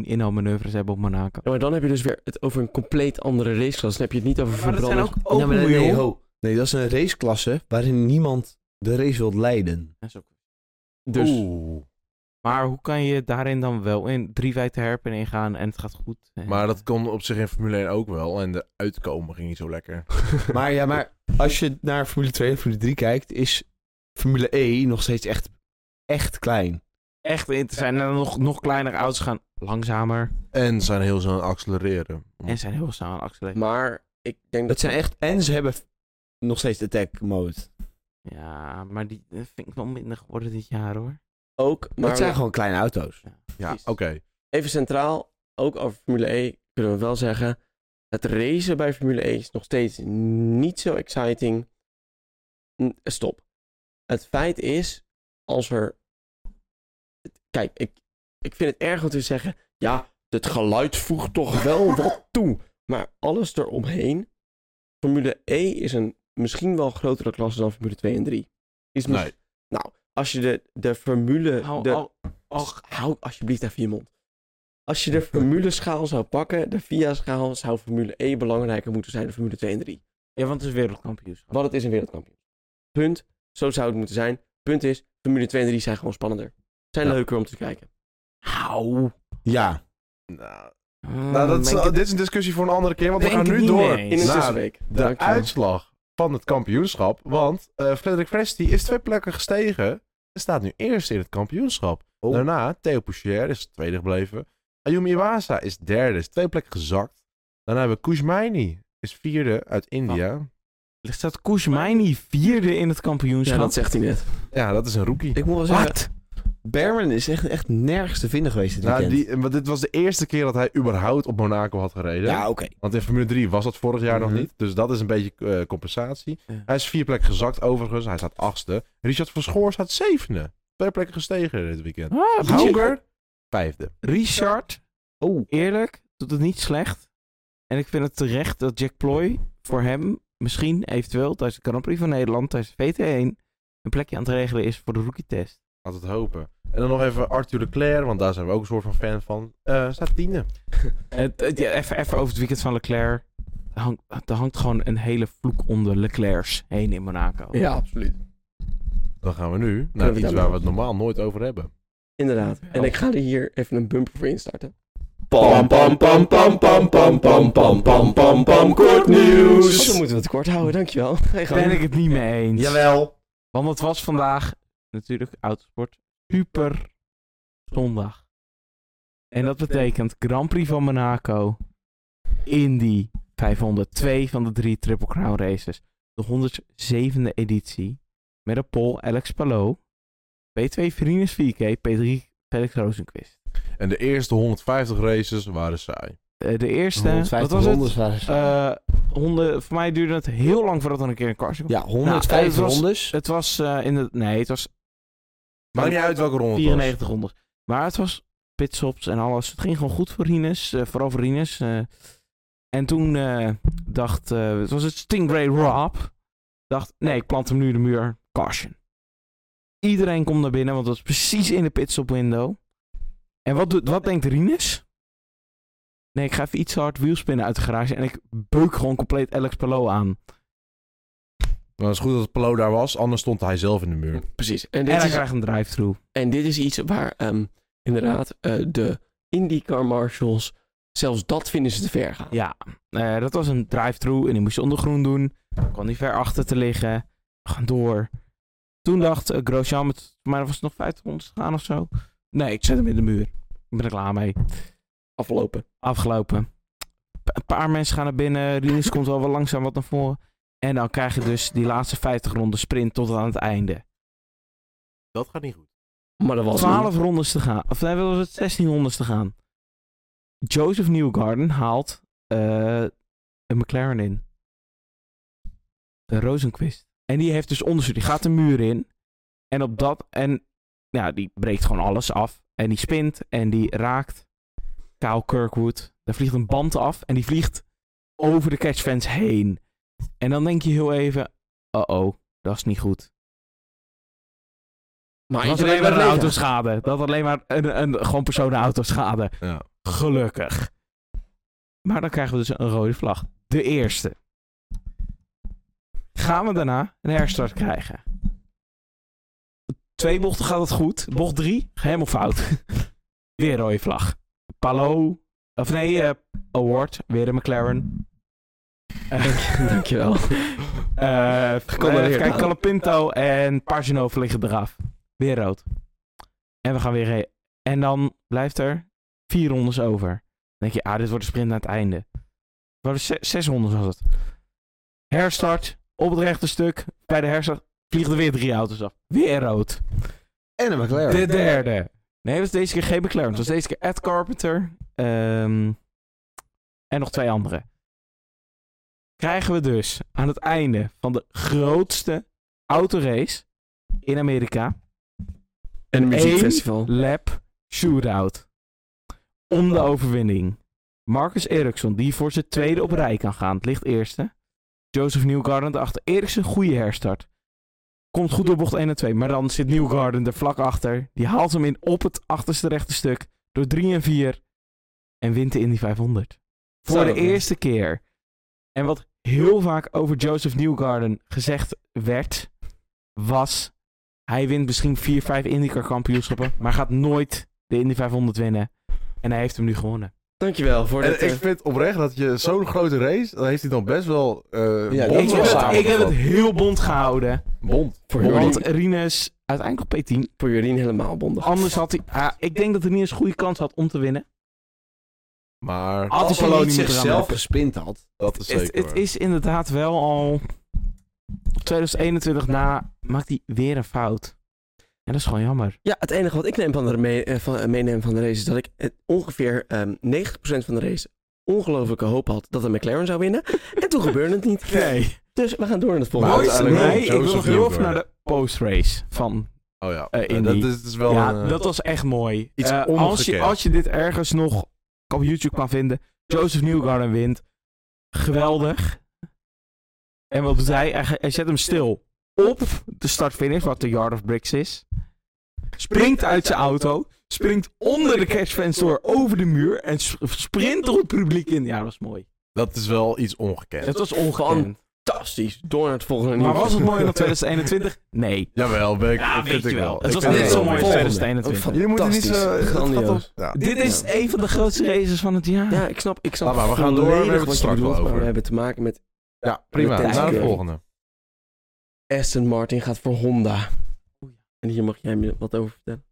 [SPEAKER 2] inhaalmanoeuvres hebben op Monaco?
[SPEAKER 1] Ja, maar dan heb je dus weer het over een compleet andere raceklas. Dan heb je het niet over
[SPEAKER 2] Maar dat
[SPEAKER 1] verbranden.
[SPEAKER 2] zijn ook
[SPEAKER 4] Ja, maar
[SPEAKER 2] open
[SPEAKER 4] nee,
[SPEAKER 2] wheel.
[SPEAKER 4] nee, ho. nee, dat is een raceklasse waarin niemand de race wilt leiden.
[SPEAKER 2] Dat is ook-
[SPEAKER 1] Dus
[SPEAKER 3] Oeh.
[SPEAKER 2] Maar hoe kan je daarin dan wel in drie wijd herpen ingaan en het gaat goed? Eh,
[SPEAKER 3] Maar dat kon op zich in Formule 1 ook wel. En de uitkomen ging niet zo lekker.
[SPEAKER 4] Maar ja, maar als je naar Formule 2 en Formule 3 kijkt, is Formule E nog steeds echt, echt klein.
[SPEAKER 2] echt in te zijn. En dan nog, nog kleiner auto's gaan langzamer.
[SPEAKER 3] En zijn heel snel aan het accelereren.
[SPEAKER 2] En zijn heel snel aan het accelereren.
[SPEAKER 1] Maar ik denk dat...
[SPEAKER 4] Dat zijn echt, en ze hebben f- nog steeds attack mode.
[SPEAKER 2] Ja, maar die eh, vind ik wel minder geworden dit jaar hoor.
[SPEAKER 1] Ook,
[SPEAKER 4] Maar
[SPEAKER 1] maar
[SPEAKER 4] het zijn gewoon kleine auto's.
[SPEAKER 3] Ja,
[SPEAKER 1] Precies.
[SPEAKER 3] oké.
[SPEAKER 1] even centraal, ook over Formule E kunnen we wel zeggen. Het racen bij Formule E is nog steeds niet zo exciting. N- Stop. Het feit is, als er. Kijk, ik, ik vind het erg om te zeggen. Ja, het geluid voegt toch wel wat toe. Maar alles eromheen. Formule E is een misschien wel grotere klasse dan Formule 2 en 3. Is mis-
[SPEAKER 3] Nee.
[SPEAKER 1] Als je de, de formule.
[SPEAKER 2] Hou,
[SPEAKER 1] de,
[SPEAKER 2] al- al-
[SPEAKER 1] Och, hou alsjeblieft even je mond. Als je de formule-schaal zou pakken, de VIA-schaal, zou Formule E belangrijker moeten zijn dan Formule 2 en 3.
[SPEAKER 2] ja, want het is wereldkampioenschap.
[SPEAKER 1] Want het is een wereldkampioen. Punt. Zo zou het moeten zijn. Punt is, Formule 2 en 3 zijn gewoon spannender. Zijn
[SPEAKER 3] Ja.
[SPEAKER 1] leuker om te kijken.
[SPEAKER 2] Hou.
[SPEAKER 4] Ja.
[SPEAKER 3] Nou,
[SPEAKER 2] Ah,
[SPEAKER 3] nou, dat is,
[SPEAKER 2] denk het-
[SPEAKER 3] dit is een discussie voor een andere keer, want we
[SPEAKER 2] denk
[SPEAKER 3] gaan
[SPEAKER 2] het
[SPEAKER 3] nu
[SPEAKER 2] niet
[SPEAKER 3] door.
[SPEAKER 2] mee
[SPEAKER 1] In een
[SPEAKER 2] eens.
[SPEAKER 3] Nou,
[SPEAKER 1] tussenweek.
[SPEAKER 3] De
[SPEAKER 1] Dankjewel.
[SPEAKER 3] uitslag van het kampioenschap. Want eh Frederik Vresti is twee plekken gestegen. En staat nu eerst in het kampioenschap.
[SPEAKER 4] Oh.
[SPEAKER 3] Daarna Theo Poucher is tweede gebleven. Ayumi Iwasa is derde, is twee plekken gezakt. Daarna hebben we Kuzmaini, is vierde uit India.
[SPEAKER 4] Ah.
[SPEAKER 2] Er staat Koesmijni vierde in het
[SPEAKER 1] Ja,
[SPEAKER 2] kampioenschap.
[SPEAKER 1] dat zegt hij net.
[SPEAKER 3] Ja, dat is een rookie.
[SPEAKER 4] Ik moet wel zeggen,
[SPEAKER 2] Wat?
[SPEAKER 4] Berman is echt, echt nergens te vinden geweest dit
[SPEAKER 3] Nou,
[SPEAKER 4] weekend.
[SPEAKER 3] die, want dit was de eerste keer dat hij überhaupt op Monaco had gereden.
[SPEAKER 4] Ja, oké.
[SPEAKER 3] Want in Formule 3 was dat vorig jaar
[SPEAKER 4] Mhm.
[SPEAKER 3] nog niet. Dus dat is een beetje eh, compensatie.
[SPEAKER 2] Ja.
[SPEAKER 3] Hij is vier plekken gezakt overigens. Hij staat achtste. Richard Verschoor staat zevende. Twee plekken gestegen dit weekend.
[SPEAKER 2] Ah,
[SPEAKER 3] Hauger, vijfde.
[SPEAKER 2] Richard,
[SPEAKER 4] Oh.
[SPEAKER 2] eerlijk, doet het niet slecht. En ik vind het terecht dat Jack Ploy voor hem misschien eventueel tijdens de Grand Prix van Nederland, tijdens VT1, een plekje aan het regelen is voor de rookie test.
[SPEAKER 3] Laat het hopen. En dan nog even Arthur Leclerc, want daar zijn we ook een soort van fan van. Eh, staat tiende.
[SPEAKER 2] Het- het- ja, even, even over het weekend van Leclerc. Er hangt, er hangt gewoon een hele vloek onder Leclerc's heen in Monaco.
[SPEAKER 1] Ja, absoluut.
[SPEAKER 3] Dan gaan we nu
[SPEAKER 1] Kunnen
[SPEAKER 3] naar
[SPEAKER 1] we
[SPEAKER 3] iets
[SPEAKER 1] dan-
[SPEAKER 3] waar we het normaal nooit over hebben.
[SPEAKER 1] Inderdaad. En ik ga er hier even een bumper voor instarten.
[SPEAKER 5] Pam pam pam pam pam pam pam pam pam pam pam kort
[SPEAKER 1] Dus dan
[SPEAKER 5] nieuws.
[SPEAKER 1] moeten we het kort houden, dankjewel. Hey, gang.
[SPEAKER 2] Ben ik het niet mee eens.
[SPEAKER 4] Jawel.
[SPEAKER 2] Want het was vandaag natuurlijk autosport super zondag. En dat betekent Grand Prix van Monaco, Indy 502 van de drie Triple Crown races, de 107e editie, met een pol Alex Palou, P2 Verines 4K, P3 Felix Rosenquist.
[SPEAKER 3] En de eerste 150 races waren saai.
[SPEAKER 2] Eh, de eerste, wat was het?
[SPEAKER 4] rondes.
[SPEAKER 2] Eh, honden, voor mij duurde het heel lang voordat er een keer een kwart
[SPEAKER 4] ja,
[SPEAKER 2] Nou, het
[SPEAKER 4] 150
[SPEAKER 2] was-
[SPEAKER 4] rondes.
[SPEAKER 2] Het was eh, in de, nee, het was
[SPEAKER 3] Maakt niet uit welke ronde het was.
[SPEAKER 2] 94 rondes. Maar het was pitstops en alles. Het ging gewoon goed voor Rinus. eh, vooral voor Rinus. eh. en toen eh, dacht... eh, het was het Stingray Rob. Dacht, nee, ik plant hem nu in de muur. Caution. Iedereen komt naar binnen, want dat is precies in de pitstop window. En wat, doet, wat denkt Rinus? Nee, ik ga even iets te hard wielspinnen uit de garage. En ik beuk gewoon compleet Alex Palou aan.
[SPEAKER 3] Maar het is goed dat Palo daar was, anders stond hij zelf in de muur.
[SPEAKER 1] Precies. En
[SPEAKER 2] en
[SPEAKER 1] dit,
[SPEAKER 2] hij
[SPEAKER 1] is,
[SPEAKER 2] krijgt een drive-through.
[SPEAKER 1] en dit is iets waar ehm, inderdaad eh, de IndyCar Marshals, zelfs dat vinden ze te ver gaan.
[SPEAKER 2] Ja, eh, dat was een drive-through en die moest je onder groen doen. Kwam niet ver achter te liggen. Gaan door. Toen dacht eh, Grosjean, met, maar er was nog 50 rondes te gaan of zo. Nee, ik zet hem in de muur. Ik ben er klaar mee.
[SPEAKER 1] Afgelopen.
[SPEAKER 2] Afgelopen. Pa- een paar mensen gaan naar binnen. Rinus komt wel wel langzaam wat naar voren. En dan krijg je dus die laatste 50 ronden sprint tot aan het einde.
[SPEAKER 3] Dat gaat niet goed.
[SPEAKER 1] Maar dat was
[SPEAKER 2] 12 rondes te gaan. Of nee, wel was het 16 rondes te gaan. Joseph Newgarden haalt eh, een McLaren in. Een Rosenquist. En die heeft dus onderzoek. Die gaat de muur in. En op dat. En ja, die breekt gewoon alles af. En die spint. En die raakt Kyle Kirkwood. Daar vliegt een band af. En die vliegt over de catchfence heen. En dan denk je heel even. Uh-oh, dat is niet goed.
[SPEAKER 1] Maar
[SPEAKER 2] Dat had alleen
[SPEAKER 1] iedereen
[SPEAKER 2] maar een
[SPEAKER 1] werd leeg.
[SPEAKER 2] autoschade. Dat had alleen maar een, een gewoon personenautoschade.
[SPEAKER 3] Ja.
[SPEAKER 2] Gelukkig. Maar dan krijgen we dus een rode vlag. De eerste. Gaan we daarna een herstart krijgen. Twee bochten gaat het goed. Bocht drie, helemaal fout. weer rode vlag. Palo. Of nee, eh, Award. Weer een McLaren.
[SPEAKER 1] Dank- Dankjewel.
[SPEAKER 2] Eh
[SPEAKER 1] Gecondoleerd.
[SPEAKER 2] even kijken, Calapinto en Pargenov liggen eraf. Weer rood. En we gaan weer re- En dan blijft er vier rondes over. Dan denk je, ah, dit wordt de sprint naar het einde. Maar we- zes, zes rondes was het. Herstart, op het rechte stuk, bij de herstart. Vliegen er weer drie auto's af. Weer rood.
[SPEAKER 4] En een McLaren.
[SPEAKER 2] De derde. Nee, dat was deze keer geen McLaren. Dat was deze keer Ed Carpenter. ehm, en nog twee anderen. Krijgen we dus aan het einde van de grootste autorace in Amerika.
[SPEAKER 1] En een muziekfestival.
[SPEAKER 2] Lap shootout. Om de overwinning. Marcus Eriksson, die voor zijn tweede op rij kan gaan. Het ligt eerste. Joseph Newgarden erachter. Eriksson, goede herstart. Komt goed door bocht 1 en 2. Maar dan zit Newgarden er vlak achter. Die haalt hem in op het achterste rechte stuk. Door 3 en 4. En wint de Indy 500. Voor
[SPEAKER 1] Zou
[SPEAKER 2] de
[SPEAKER 1] dat doen.
[SPEAKER 2] eerste keer. En wat heel vaak over Joseph Newgarden gezegd werd. Was hij wint misschien 4, 5 IndyCar kampioenschappen, maar gaat nooit de Indy 500 winnen. En hij heeft hem nu gewonnen.
[SPEAKER 1] Dankjewel voor
[SPEAKER 3] En
[SPEAKER 1] dit.
[SPEAKER 3] ik
[SPEAKER 1] eh,
[SPEAKER 3] vind oprecht dat je zo'n grote race, dan heeft hij dan best wel eh
[SPEAKER 1] Ja,
[SPEAKER 3] bond
[SPEAKER 1] Bond
[SPEAKER 2] Ik heb, het,
[SPEAKER 3] samengevat.
[SPEAKER 2] ik heb het heel bond gehouden.
[SPEAKER 3] Bond.
[SPEAKER 1] voor,
[SPEAKER 2] Want
[SPEAKER 1] Jorien,
[SPEAKER 2] Rinus uiteindelijk op P10.
[SPEAKER 1] voor Jorien helemaal bondig.
[SPEAKER 2] Anders had hij. ah, ik denk dat Rinus een goede kans had om te winnen.
[SPEAKER 3] Maar
[SPEAKER 2] Had
[SPEAKER 4] Als
[SPEAKER 2] Paloni
[SPEAKER 4] hij niet
[SPEAKER 2] moeten
[SPEAKER 4] zichzelf
[SPEAKER 2] rammen.
[SPEAKER 4] gespind had.
[SPEAKER 3] dat is
[SPEAKER 2] Ah, Het,
[SPEAKER 3] zeker
[SPEAKER 2] het
[SPEAKER 3] waar.
[SPEAKER 2] is inderdaad wel al. 2021 na maakt hij weer een fout. En dat is gewoon jammer.
[SPEAKER 1] Ja, het enige wat ik neem van de mee, eh, van, eh, meeneem van de race is dat ik eh, ongeveer ehm 90% van de race ongelofelijke hoop had dat een McLaren zou winnen. En toen gebeurde het niet. Dus we gaan door naar het
[SPEAKER 3] Maar
[SPEAKER 1] volgende.
[SPEAKER 3] Boys,
[SPEAKER 2] nee,
[SPEAKER 3] uiteindelijk wel
[SPEAKER 2] ik wil
[SPEAKER 3] Joseph
[SPEAKER 2] nog heel even naar
[SPEAKER 3] Newgarden.
[SPEAKER 2] de post-race van
[SPEAKER 3] Oh ja,
[SPEAKER 2] eh,
[SPEAKER 3] Eh,
[SPEAKER 2] in
[SPEAKER 3] dat
[SPEAKER 2] die-
[SPEAKER 3] is, is wel
[SPEAKER 2] ja,
[SPEAKER 3] een, eh,
[SPEAKER 2] dat was echt mooi.
[SPEAKER 3] iets
[SPEAKER 2] Eh, als, je,
[SPEAKER 3] ongekend.
[SPEAKER 2] als je dit ergens nog op YouTube kan vinden, Joseph Newgarden wint. Geweldig. En wat doet hij? Hij, hij zet hem stil op de start-finish, wat de Yard of Bricks is. Springt uit zijn auto, springt onder de cashfans door over de muur en s- sprint er het publiek in. Ja, dat was mooi.
[SPEAKER 3] dat is wel iets ongekend.
[SPEAKER 2] Dat was ongekend.
[SPEAKER 1] Fantastisch. Door naar het volgende
[SPEAKER 2] Maar
[SPEAKER 1] nieuws.
[SPEAKER 2] was het mooier dan 2021? Nee.
[SPEAKER 3] Jawel, ben ik,
[SPEAKER 2] Ja,
[SPEAKER 3] vind
[SPEAKER 2] weet
[SPEAKER 3] ik
[SPEAKER 2] je wel.
[SPEAKER 3] wel.
[SPEAKER 2] Het
[SPEAKER 3] Ik
[SPEAKER 2] was
[SPEAKER 3] vind
[SPEAKER 2] net
[SPEAKER 3] het
[SPEAKER 2] zo
[SPEAKER 3] wel
[SPEAKER 2] mooi als
[SPEAKER 3] mooi.
[SPEAKER 2] 2021.
[SPEAKER 3] Jullie moeten niet zo...
[SPEAKER 1] Fantastisch.
[SPEAKER 3] het gaat
[SPEAKER 1] Grandioos.
[SPEAKER 3] om- ja.
[SPEAKER 2] Dit is
[SPEAKER 1] Ja.
[SPEAKER 2] een van de grootste races van het jaar.
[SPEAKER 1] Ja, ik snap, ik snap
[SPEAKER 3] Laat maar, we gaan door, we
[SPEAKER 1] volledig
[SPEAKER 3] hebben het
[SPEAKER 1] wat je
[SPEAKER 3] straks wel
[SPEAKER 1] bedoelt, maar
[SPEAKER 3] over.
[SPEAKER 1] we hebben te maken met
[SPEAKER 3] Ja, prima.
[SPEAKER 1] Met
[SPEAKER 3] Naar de
[SPEAKER 1] Tiger.
[SPEAKER 3] volgende.
[SPEAKER 1] Aston Martin gaat voor Honda. En hier mag jij me wat over vertellen.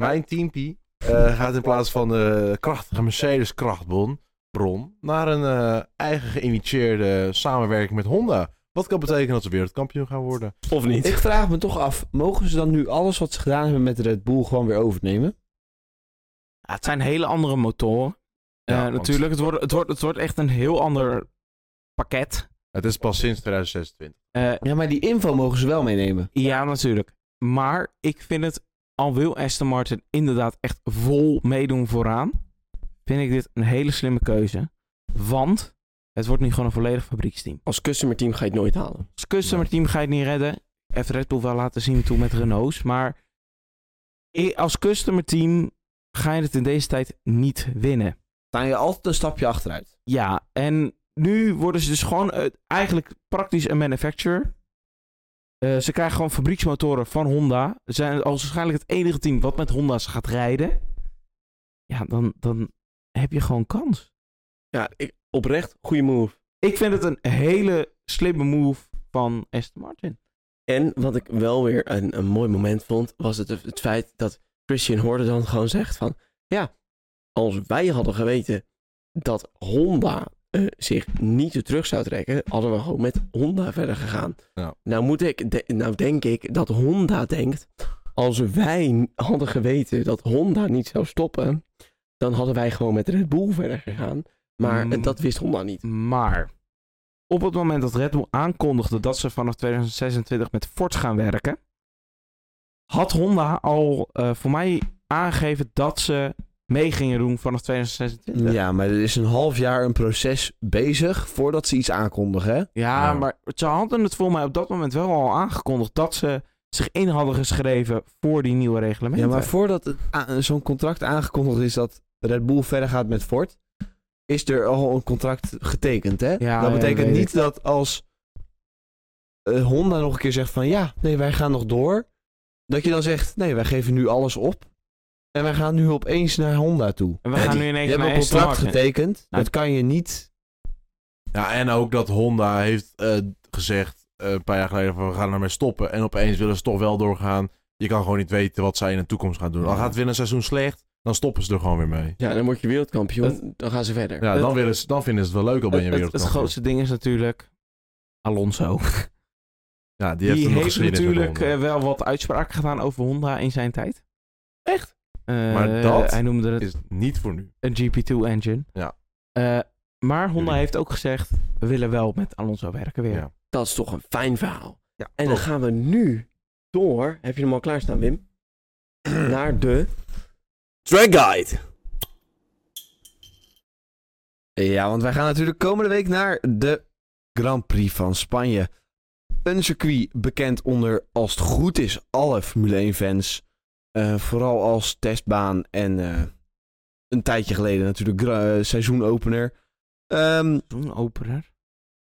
[SPEAKER 3] Mijn teampie eh, gaat in plaats van de krachtige Mercedes krachtbron bron, naar een eh, eigen geïnitieerde samenwerking met Honda. Wat kan betekenen dat ze wereldkampioen gaan worden?
[SPEAKER 1] Of niet?
[SPEAKER 4] Ik vraag me toch af, mogen ze dan nu alles wat ze gedaan hebben met Red Bull gewoon weer overnemen?
[SPEAKER 2] Ja, het zijn hele andere motoren. Eh,
[SPEAKER 3] Ja, want-
[SPEAKER 2] Natuurlijk, het wordt, het, wordt, het wordt echt een heel ander pakket.
[SPEAKER 3] Het is pas sinds 2026.
[SPEAKER 2] Eh,
[SPEAKER 4] Ja, maar die info mogen ze wel meenemen.
[SPEAKER 2] ja, natuurlijk. Maar ik vind het, al wil Aston Martin inderdaad echt vol meedoen vooraan, vind ik dit een hele slimme keuze. Want het wordt nu gewoon een volledig fabrieksteam.
[SPEAKER 1] Als customer team ga je het nooit halen.
[SPEAKER 2] Als customer team ga je het niet redden. Heeft Red Bull wel laten zien toen met Renaults. Maar i- als customer team ga je het in deze tijd niet winnen.
[SPEAKER 4] Staan je altijd een stapje achteruit.
[SPEAKER 2] Ja, en nu worden ze dus gewoon eh, eigenlijk praktisch een manufacturer. Eh, ze krijgen gewoon fabrieksmotoren van Honda. Ze zijn al waarschijnlijk het enige team wat met Honda's gaat rijden. Ja, dan, dan heb je gewoon kans.
[SPEAKER 1] Ja, ik, oprecht, goede move.
[SPEAKER 2] Ik vind het een hele slimme move van Aston Martin.
[SPEAKER 1] En wat ik wel weer een, een mooi moment vond, was het, het feit dat Christian Horner dan gewoon zegt van... Ja, als wij hadden geweten dat Honda eh, zich niet zo terug zou trekken, hadden we gewoon met Honda verder gegaan.
[SPEAKER 3] Ja.
[SPEAKER 1] Nou, moet ik de- nou denk ik dat Honda denkt, als wij hadden geweten dat Honda niet zou stoppen, dan hadden wij gewoon met Red Bull verder gegaan. Maar eh,
[SPEAKER 2] Mm.
[SPEAKER 1] dat wist Honda niet.
[SPEAKER 2] Maar op het moment dat Red Bull aankondigde dat ze vanaf 2026 met Ford gaan werken, had Honda al eh, voor mij aangegeven dat ze mee gingen doen vanaf 2026. Ja,
[SPEAKER 4] Ja, maar er is een half jaar een proces bezig voordat ze iets aankondigen. hè?
[SPEAKER 3] Ja.
[SPEAKER 2] maar ze hadden het voor mij op dat moment wel al aangekondigd dat ze zich in hadden geschreven voor die nieuwe
[SPEAKER 4] Ja,
[SPEAKER 2] reglementen.
[SPEAKER 4] maar voordat het a- zo'n contract aangekondigd is dat Red Bull verder gaat met Ford, is er al een contract getekend, hè?
[SPEAKER 2] Ja,
[SPEAKER 4] dat
[SPEAKER 2] ja,
[SPEAKER 4] betekent
[SPEAKER 2] weet
[SPEAKER 4] niet dat als eh, Honda nog een keer zegt van ja, nee, wij gaan nog door, dat je dan zegt nee, wij geven nu alles op en wij gaan nu opeens naar Honda toe.
[SPEAKER 2] En we
[SPEAKER 4] Ja,
[SPEAKER 2] gaan
[SPEAKER 4] die-
[SPEAKER 2] nu in
[SPEAKER 4] Je
[SPEAKER 2] één keer
[SPEAKER 4] hebt
[SPEAKER 2] naar
[SPEAKER 4] een
[SPEAKER 2] Aston
[SPEAKER 4] contract
[SPEAKER 2] Martin.
[SPEAKER 4] getekend,
[SPEAKER 2] Nou,
[SPEAKER 4] dat kan je niet...
[SPEAKER 3] Ja, en ook dat Honda heeft eh, gezegd eh, een paar jaar geleden van we gaan ermee stoppen. En opeens willen ze toch wel doorgaan. Je kan gewoon niet weten wat zij in de toekomst gaan doen. Al gaat het weer een seizoen slecht, dan stoppen ze er gewoon weer mee.
[SPEAKER 1] Ja, dan word je wereldkampioen, dan gaan ze verder.
[SPEAKER 3] Ja, dan, willen ze, dan vinden ze het wel leuk al ben je
[SPEAKER 2] Het, het, het
[SPEAKER 3] wereldkampioen.
[SPEAKER 2] grootste ding is natuurlijk Alonso.
[SPEAKER 3] Ja, die,
[SPEAKER 2] Die,
[SPEAKER 3] heeft,
[SPEAKER 2] heeft natuurlijk
[SPEAKER 3] natuurlijk...
[SPEAKER 2] eh, wel wat uitspraken gedaan over Honda in zijn tijd.
[SPEAKER 3] Echt?
[SPEAKER 2] Eh,
[SPEAKER 3] Maar dat
[SPEAKER 2] hij noemde het
[SPEAKER 3] is niet voor nu.
[SPEAKER 2] een GP2-engine.
[SPEAKER 3] Ja.
[SPEAKER 2] Eh, maar Honda
[SPEAKER 3] Jullie.
[SPEAKER 2] heeft ook gezegd, we willen wel met Alonso werken weer.
[SPEAKER 3] Ja.
[SPEAKER 1] Dat is toch een fijn verhaal.
[SPEAKER 2] Ja,
[SPEAKER 1] en dan
[SPEAKER 3] klopt.
[SPEAKER 1] gaan we nu door. Heb je hem al klaarstaan, Wim? Naar de Track Guide.
[SPEAKER 4] Ja, want wij gaan natuurlijk komende week naar de Grand Prix van Spanje. Een circuit bekend onder, als het goed is, alle Formule 1-fans. Eh, vooral als testbaan en eh, een tijdje geleden natuurlijk gra- eh, seizoenopener. Ehm,
[SPEAKER 2] Seizoenopener.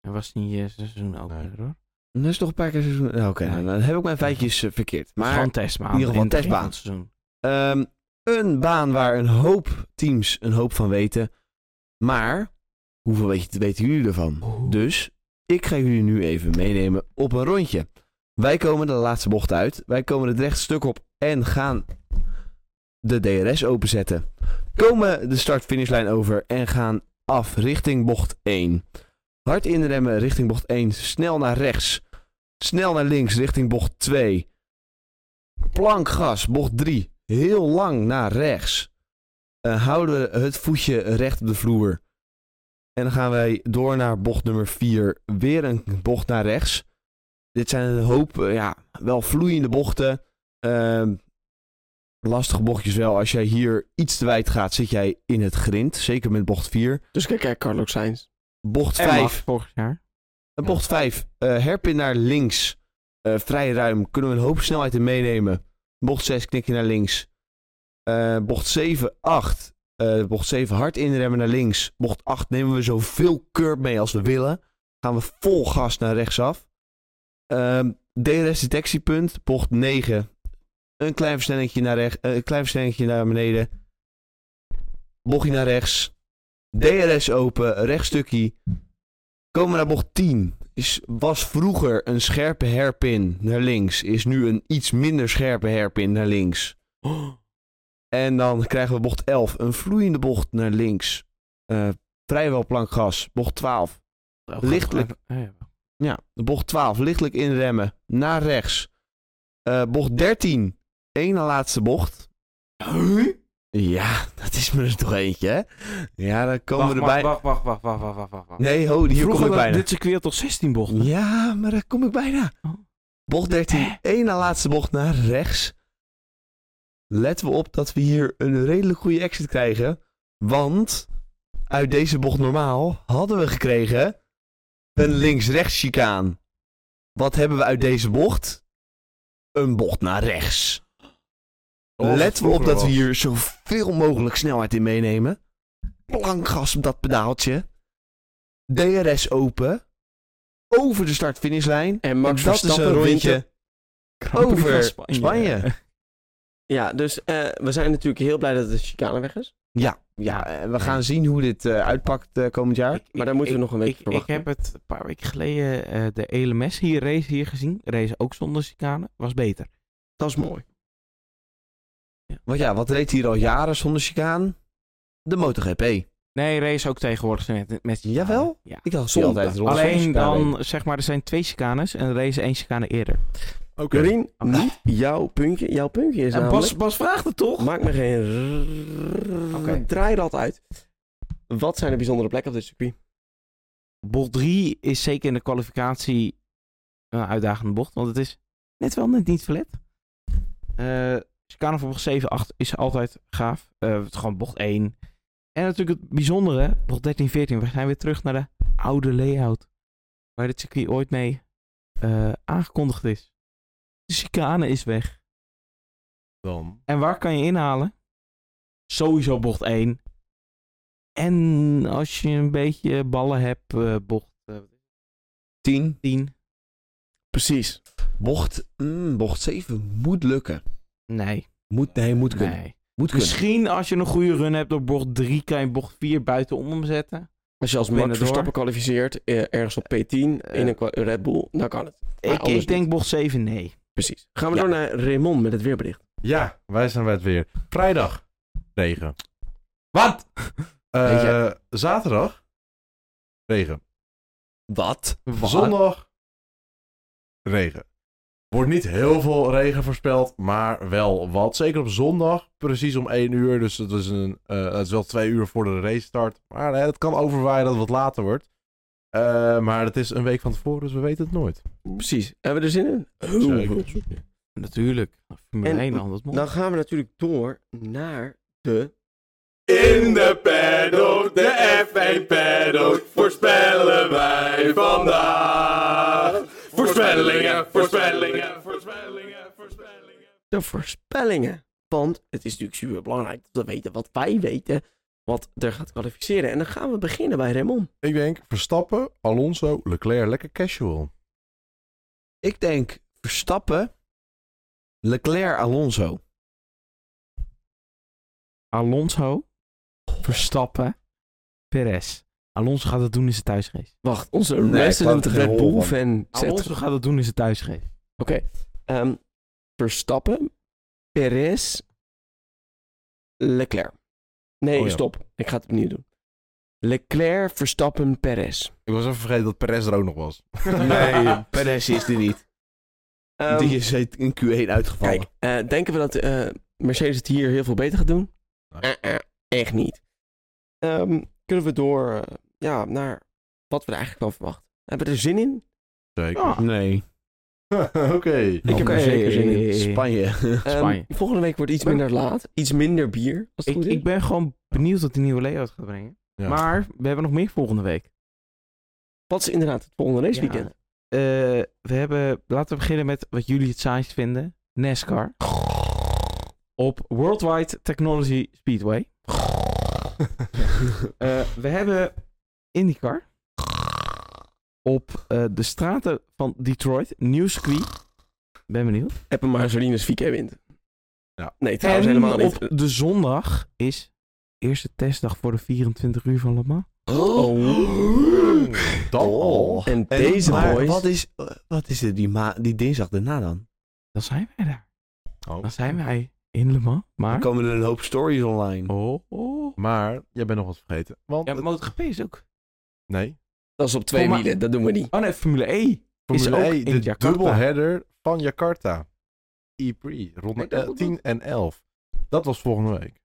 [SPEAKER 2] Hij was niet eh, seizoenopener hoor.
[SPEAKER 4] dat is toch een paar keer seizoen... nou, Oké,
[SPEAKER 2] Nee.
[SPEAKER 4] dan heb ik mijn feitjes eh, verkeerd.
[SPEAKER 2] Maar,
[SPEAKER 4] Maar
[SPEAKER 2] gewoon testbaan.
[SPEAKER 4] in ieder geval
[SPEAKER 2] het begin van
[SPEAKER 4] testbaan.
[SPEAKER 2] het seizoen.
[SPEAKER 4] Ehm, een baan waar een hoop teams een hoop van weten. Maar hoeveel weet- weten jullie ervan?
[SPEAKER 1] Oh.
[SPEAKER 2] Oeh.
[SPEAKER 4] Dus ik ga jullie nu even meenemen op een rondje. Wij komen de laatste bocht uit. Wij komen het rechte stuk op en gaan de DRS openzetten. Komen de start-finishlijn over en gaan af richting bocht 1. Hard inremmen richting bocht 1. Snel naar rechts. Snel naar links richting bocht 2. Plankgas, bocht 3. Heel lang naar rechts. Eh, houden we het voetje recht op de vloer. En dan gaan wij door naar bocht nummer 4. Weer een bocht naar rechts. Dit zijn een hoop, eh, ja, wel vloeiende bochten. Ehm, lastige bochtjes wel. Als jij hier iets te wijd gaat, zit jij in het grind. Zeker met bocht 4.
[SPEAKER 1] Dus kijk, kijk Carlos Sainz.
[SPEAKER 4] Bocht
[SPEAKER 2] En
[SPEAKER 4] 5.
[SPEAKER 2] Max vorig jaar.
[SPEAKER 4] Een bocht 5. herpin naar links. Eh, vrij ruim. Kunnen we een hoop snelheid in meenemen. Bocht 6 knik je naar links. Eh, bocht 7, 8. Eh, bocht 7 hard inremmen naar links. Bocht 8 nemen we zoveel curb mee als we willen. Gaan we vol gas naar rechtsaf. Ehm DRS detectiepunt. Bocht 9. Een klein versnellingje naar, rechts, een klein versnellingje naar beneden. Bochtje naar rechts. DRS open. Rechtstukkie. Komen we naar bocht 10. Is, was vroeger een scherpe herpin naar links. Is nu een iets minder scherpe herpin naar links. En dan krijgen we bocht 11. Een vloeiende bocht naar links. Eh, vrijwel plankgas. Bocht 12. Lichtelijk.
[SPEAKER 2] Oh, ja.
[SPEAKER 4] Ja, de bocht 12. Lichtelijk inremmen. Naar rechts. Eh, bocht 13. Eén na laatste bocht. Ja, dat is me er toch eentje, hè? Ja, dan komen
[SPEAKER 2] Wacht,
[SPEAKER 4] we erbij.
[SPEAKER 2] wacht, wacht, wacht, wacht, wacht, wacht, wacht, wacht.
[SPEAKER 4] Nee, ho, hier kom
[SPEAKER 2] Vroeger
[SPEAKER 4] ik
[SPEAKER 2] was
[SPEAKER 4] bijna.
[SPEAKER 2] dit circuit had toch 16 bochten?
[SPEAKER 4] Ja, maar daar kom ik bijna.
[SPEAKER 2] Oh.
[SPEAKER 4] Bocht 13, één na laatste bocht naar rechts. Letten we op dat we hier een redelijk goede exit krijgen. Want uit deze bocht normaal hadden we gekregen een links-rechts chicaan. Wat hebben we uit deze bocht? Een bocht naar rechts.
[SPEAKER 3] Zoals het
[SPEAKER 4] Letten we op
[SPEAKER 3] vroeger
[SPEAKER 4] dat we
[SPEAKER 3] was.
[SPEAKER 4] hier zoveel mogelijk snelheid in meenemen. Plankgas op dat pedaaltje. DRS open. Over de start-finishlijn.
[SPEAKER 1] En Max
[SPEAKER 4] dat is een
[SPEAKER 1] Verstappen wint
[SPEAKER 4] rondje.
[SPEAKER 1] de-
[SPEAKER 2] Grand Prix van
[SPEAKER 4] over Spanje.
[SPEAKER 1] Ja, dus eh, we zijn natuurlijk heel blij dat de chicane weg is.
[SPEAKER 4] Ja, ja eh, we gaan zien hoe dit eh, uitpakt eh, komend jaar.
[SPEAKER 2] Ik-
[SPEAKER 1] Maar daar moeten we nog een beetje
[SPEAKER 2] ik, ik
[SPEAKER 1] verwachten.
[SPEAKER 2] heb het een paar weken geleden eh, de LMS hier race hier gezien. Race ook zonder chicane. Was beter.
[SPEAKER 1] Dat is mooi.
[SPEAKER 4] Want ja, wat reed hier al jaren zonder chicaan? De MotoGP.
[SPEAKER 2] Nee, race ook tegenwoordig met, met chicane.
[SPEAKER 4] Jawel?
[SPEAKER 2] Ja.
[SPEAKER 4] Ik dacht
[SPEAKER 1] Zonde.
[SPEAKER 4] zonde. altijd rond.
[SPEAKER 2] Alleen dan, zeg maar, er zijn twee chicanes en race één chicane eerder.
[SPEAKER 3] Oké.
[SPEAKER 1] Jorien,
[SPEAKER 2] Oké. Ah.
[SPEAKER 1] niet jouw puntje. Jouw puntje is
[SPEAKER 2] En
[SPEAKER 1] namelijk...
[SPEAKER 2] Bas, Bas vraagt het toch?
[SPEAKER 1] Maak me geen... rrrr-
[SPEAKER 2] Oké.
[SPEAKER 1] Draai dat uit. Wat zijn de bijzondere plekken op dit circuit?
[SPEAKER 2] Bocht 3 is zeker in de kwalificatie een uitdagende bocht, want het is net wel net niet verlet. Eh chicane voor bocht 7, 8 is altijd gaaf. Eh, het is gewoon bocht 1. En natuurlijk het bijzondere, bocht 13, 14, we zijn weer terug naar de oude layout. Waar dit circuit ooit mee eh, aangekondigd is. De chicane is weg.
[SPEAKER 3] Dan.
[SPEAKER 2] En waar kan je inhalen? Sowieso bocht 1. En als je een beetje ballen hebt, eh, bocht eh,
[SPEAKER 4] 10.
[SPEAKER 2] 10.
[SPEAKER 1] Precies.
[SPEAKER 4] Bocht, mm, bocht 7 moet lukken.
[SPEAKER 2] Nee.
[SPEAKER 4] Moet, nee, moet kunnen.
[SPEAKER 2] nee.
[SPEAKER 4] Moet kunnen.
[SPEAKER 2] Misschien als je een goede run hebt op bocht 3, kan je bocht 4 buitenom omzetten.
[SPEAKER 1] Als je als
[SPEAKER 2] Binnen
[SPEAKER 1] Max
[SPEAKER 2] door. Eh.
[SPEAKER 1] Verstappen kwalificeert, eh, ergens op P10, in een kwa- Red Bull, dan kan het. Maar
[SPEAKER 2] Ik,
[SPEAKER 1] anders
[SPEAKER 2] ik denk bocht 7, nee.
[SPEAKER 1] Precies. Gaan we
[SPEAKER 2] Ja.
[SPEAKER 1] door naar Raymond met het weerbericht.
[SPEAKER 3] Ja, wij zijn bij het weer. Vrijdag. Regen.
[SPEAKER 2] Wat?
[SPEAKER 3] Eh,
[SPEAKER 4] Weet
[SPEAKER 3] zaterdag. Regen.
[SPEAKER 4] Wat?
[SPEAKER 3] Zondag. regen. Wordt niet heel veel regen voorspeld, maar wel wat. Zeker op zondag, precies om 1 uur. Dus het is, een, eh, het is wel twee uur voor de race start. Maar eh, het kan overwaaien dat het wat later wordt. Eh, maar het is een week van tevoren, dus we weten het nooit.
[SPEAKER 1] Precies. Hebben we er zin in? Heel veel.
[SPEAKER 3] Zeker.
[SPEAKER 2] Natuurlijk.
[SPEAKER 1] En-
[SPEAKER 2] Formule 1 anders moet.
[SPEAKER 1] Dan gaan we natuurlijk door naar de...
[SPEAKER 5] In de paddock, de F1 paddock, voorspellen wij vandaag. Voorspellingen, voorspellingen, voorspellingen, voorspellingen.
[SPEAKER 1] De voorspellingen. Want het is natuurlijk super belangrijk dat we weten wat wij weten. Wat er gaat kwalificeren. En dan gaan we beginnen bij Raymond.
[SPEAKER 3] Ik denk Verstappen, Alonso, Leclerc, lekker casual.
[SPEAKER 4] Ik denk Verstappen, Leclerc, Alonso.
[SPEAKER 2] Alonso, Verstappen, Perez. Alonso gaat dat doen in zijn thuisrace.
[SPEAKER 1] Wacht, onze
[SPEAKER 4] Nee,
[SPEAKER 1] resident
[SPEAKER 4] ik geloof er
[SPEAKER 1] Red
[SPEAKER 4] geen
[SPEAKER 1] Bull
[SPEAKER 4] hol
[SPEAKER 1] fan zegt...
[SPEAKER 2] Alonso gaat dat doen in zijn thuisrace.
[SPEAKER 1] Oké. Ehm, Verstappen, Perez, Leclerc. Nee,
[SPEAKER 3] Oh ja.
[SPEAKER 1] stop. Ik ga het opnieuw doen. Leclerc, Verstappen, Perez.
[SPEAKER 3] Ik was even vergeten dat Perez er ook nog was.
[SPEAKER 4] Nee, Perez is die niet.
[SPEAKER 1] Ehm,
[SPEAKER 4] die is in Q1 uitgevallen.
[SPEAKER 1] Kijk, eh, denken we dat eh, Mercedes het hier heel veel beter gaat doen?
[SPEAKER 3] Nee.
[SPEAKER 1] Eh, eh, echt niet. Ehm, kunnen we door eh, ja, naar wat we er eigenlijk van verwachten? Hebben we er zin in?
[SPEAKER 3] Zeker.
[SPEAKER 2] Ja.
[SPEAKER 4] Nee.
[SPEAKER 3] Oké.
[SPEAKER 1] Ik heb er zeker zin
[SPEAKER 2] eh,
[SPEAKER 1] in.
[SPEAKER 4] Eh. Spanje.
[SPEAKER 1] Ehm,
[SPEAKER 2] Spanje.
[SPEAKER 1] volgende week wordt iets minder laat. Iets minder bier, als het
[SPEAKER 2] Ik,
[SPEAKER 1] goed is.
[SPEAKER 2] ik ben gewoon benieuwd wat die nieuwe layout gaat brengen.
[SPEAKER 3] Ja.
[SPEAKER 2] Maar we hebben nog meer volgende week.
[SPEAKER 1] Wat is inderdaad het volgende raceweekend?
[SPEAKER 2] Ja, eh, we hebben, laten we beginnen met wat jullie het saaist vinden. NASCAR. Op Worldwide Technology Speedway. Eh, we hebben IndyCar. Op eh, de straten van Detroit. New Squee. Ben benieuwd.
[SPEAKER 1] Heb een Marcelines VK wint.
[SPEAKER 3] Ja.
[SPEAKER 1] Nee, trouwens helemaal niet.
[SPEAKER 2] op de zondag is eerste testdag voor de 24 uur van Le Mans.
[SPEAKER 1] Oh.
[SPEAKER 3] Dan al.
[SPEAKER 1] En deze
[SPEAKER 4] Oh. maar
[SPEAKER 1] boys...
[SPEAKER 4] Wat is, wat is het die, ma- die dinsdag daarna dan?
[SPEAKER 2] Dan zijn wij daar.
[SPEAKER 3] Oh.
[SPEAKER 2] Dan zijn wij in Le Mans.
[SPEAKER 4] Dan
[SPEAKER 2] Maar...
[SPEAKER 4] komen er een hoop stories online.
[SPEAKER 2] Oh, oh.
[SPEAKER 3] Maar jij bent nog wat vergeten. Want
[SPEAKER 2] Ja,
[SPEAKER 3] het-
[SPEAKER 2] MotoGP is ook.
[SPEAKER 3] nee.
[SPEAKER 1] Dat is op twee
[SPEAKER 2] Kom maar.
[SPEAKER 1] wielen, dat doen we niet.
[SPEAKER 2] Oh nee, Formule E. Is
[SPEAKER 3] Formule
[SPEAKER 2] ook
[SPEAKER 3] E,
[SPEAKER 2] in
[SPEAKER 3] de
[SPEAKER 2] Jakarta.
[SPEAKER 3] dubbelheader van Jakarta. E-Prix, ronde
[SPEAKER 1] Ik dacht
[SPEAKER 3] el-
[SPEAKER 1] dat
[SPEAKER 3] 10 en 11. Dat was volgende week.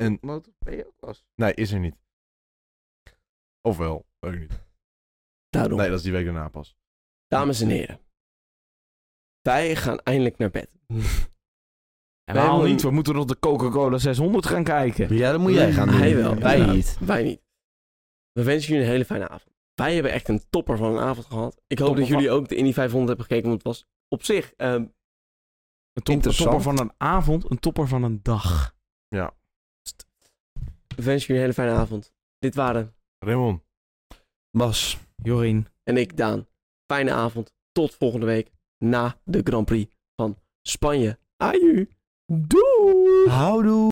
[SPEAKER 3] En-
[SPEAKER 2] MotoGP ook was.
[SPEAKER 3] Nee, is er niet. Ofwel, weet ik niet.
[SPEAKER 1] Daarom.
[SPEAKER 3] Nee, dat is die week daarna pas.
[SPEAKER 1] Dames en heren. Wij gaan eindelijk naar bed.
[SPEAKER 2] En
[SPEAKER 1] Wij
[SPEAKER 2] waarom
[SPEAKER 1] hebben-
[SPEAKER 2] niet? We moeten nog de Coca-Cola 600 gaan kijken.
[SPEAKER 4] Ja, dat moet Oh, jij gaan doen.
[SPEAKER 1] Mm, Hij wel.
[SPEAKER 4] Wij
[SPEAKER 1] Ja.
[SPEAKER 4] niet.
[SPEAKER 1] Wij niet. We wensen jullie een hele fijne avond. Wij hebben echt een topper van een avond gehad. Ik hoop
[SPEAKER 2] Topper
[SPEAKER 1] dat jullie ook de Indy 500 hebben gekeken, want het was op zich... ehm,
[SPEAKER 2] Een, top- een
[SPEAKER 4] Interessant.
[SPEAKER 2] topper van een avond, een topper van een dag.
[SPEAKER 1] we wensen jullie een hele fijne avond. Dit waren
[SPEAKER 3] Raymond,
[SPEAKER 4] Bas,
[SPEAKER 2] Jorien.
[SPEAKER 1] en ik, Daan. Fijne avond. Tot volgende week na de Grand Prix van Spanje. Aju. Doei!
[SPEAKER 4] houdoe.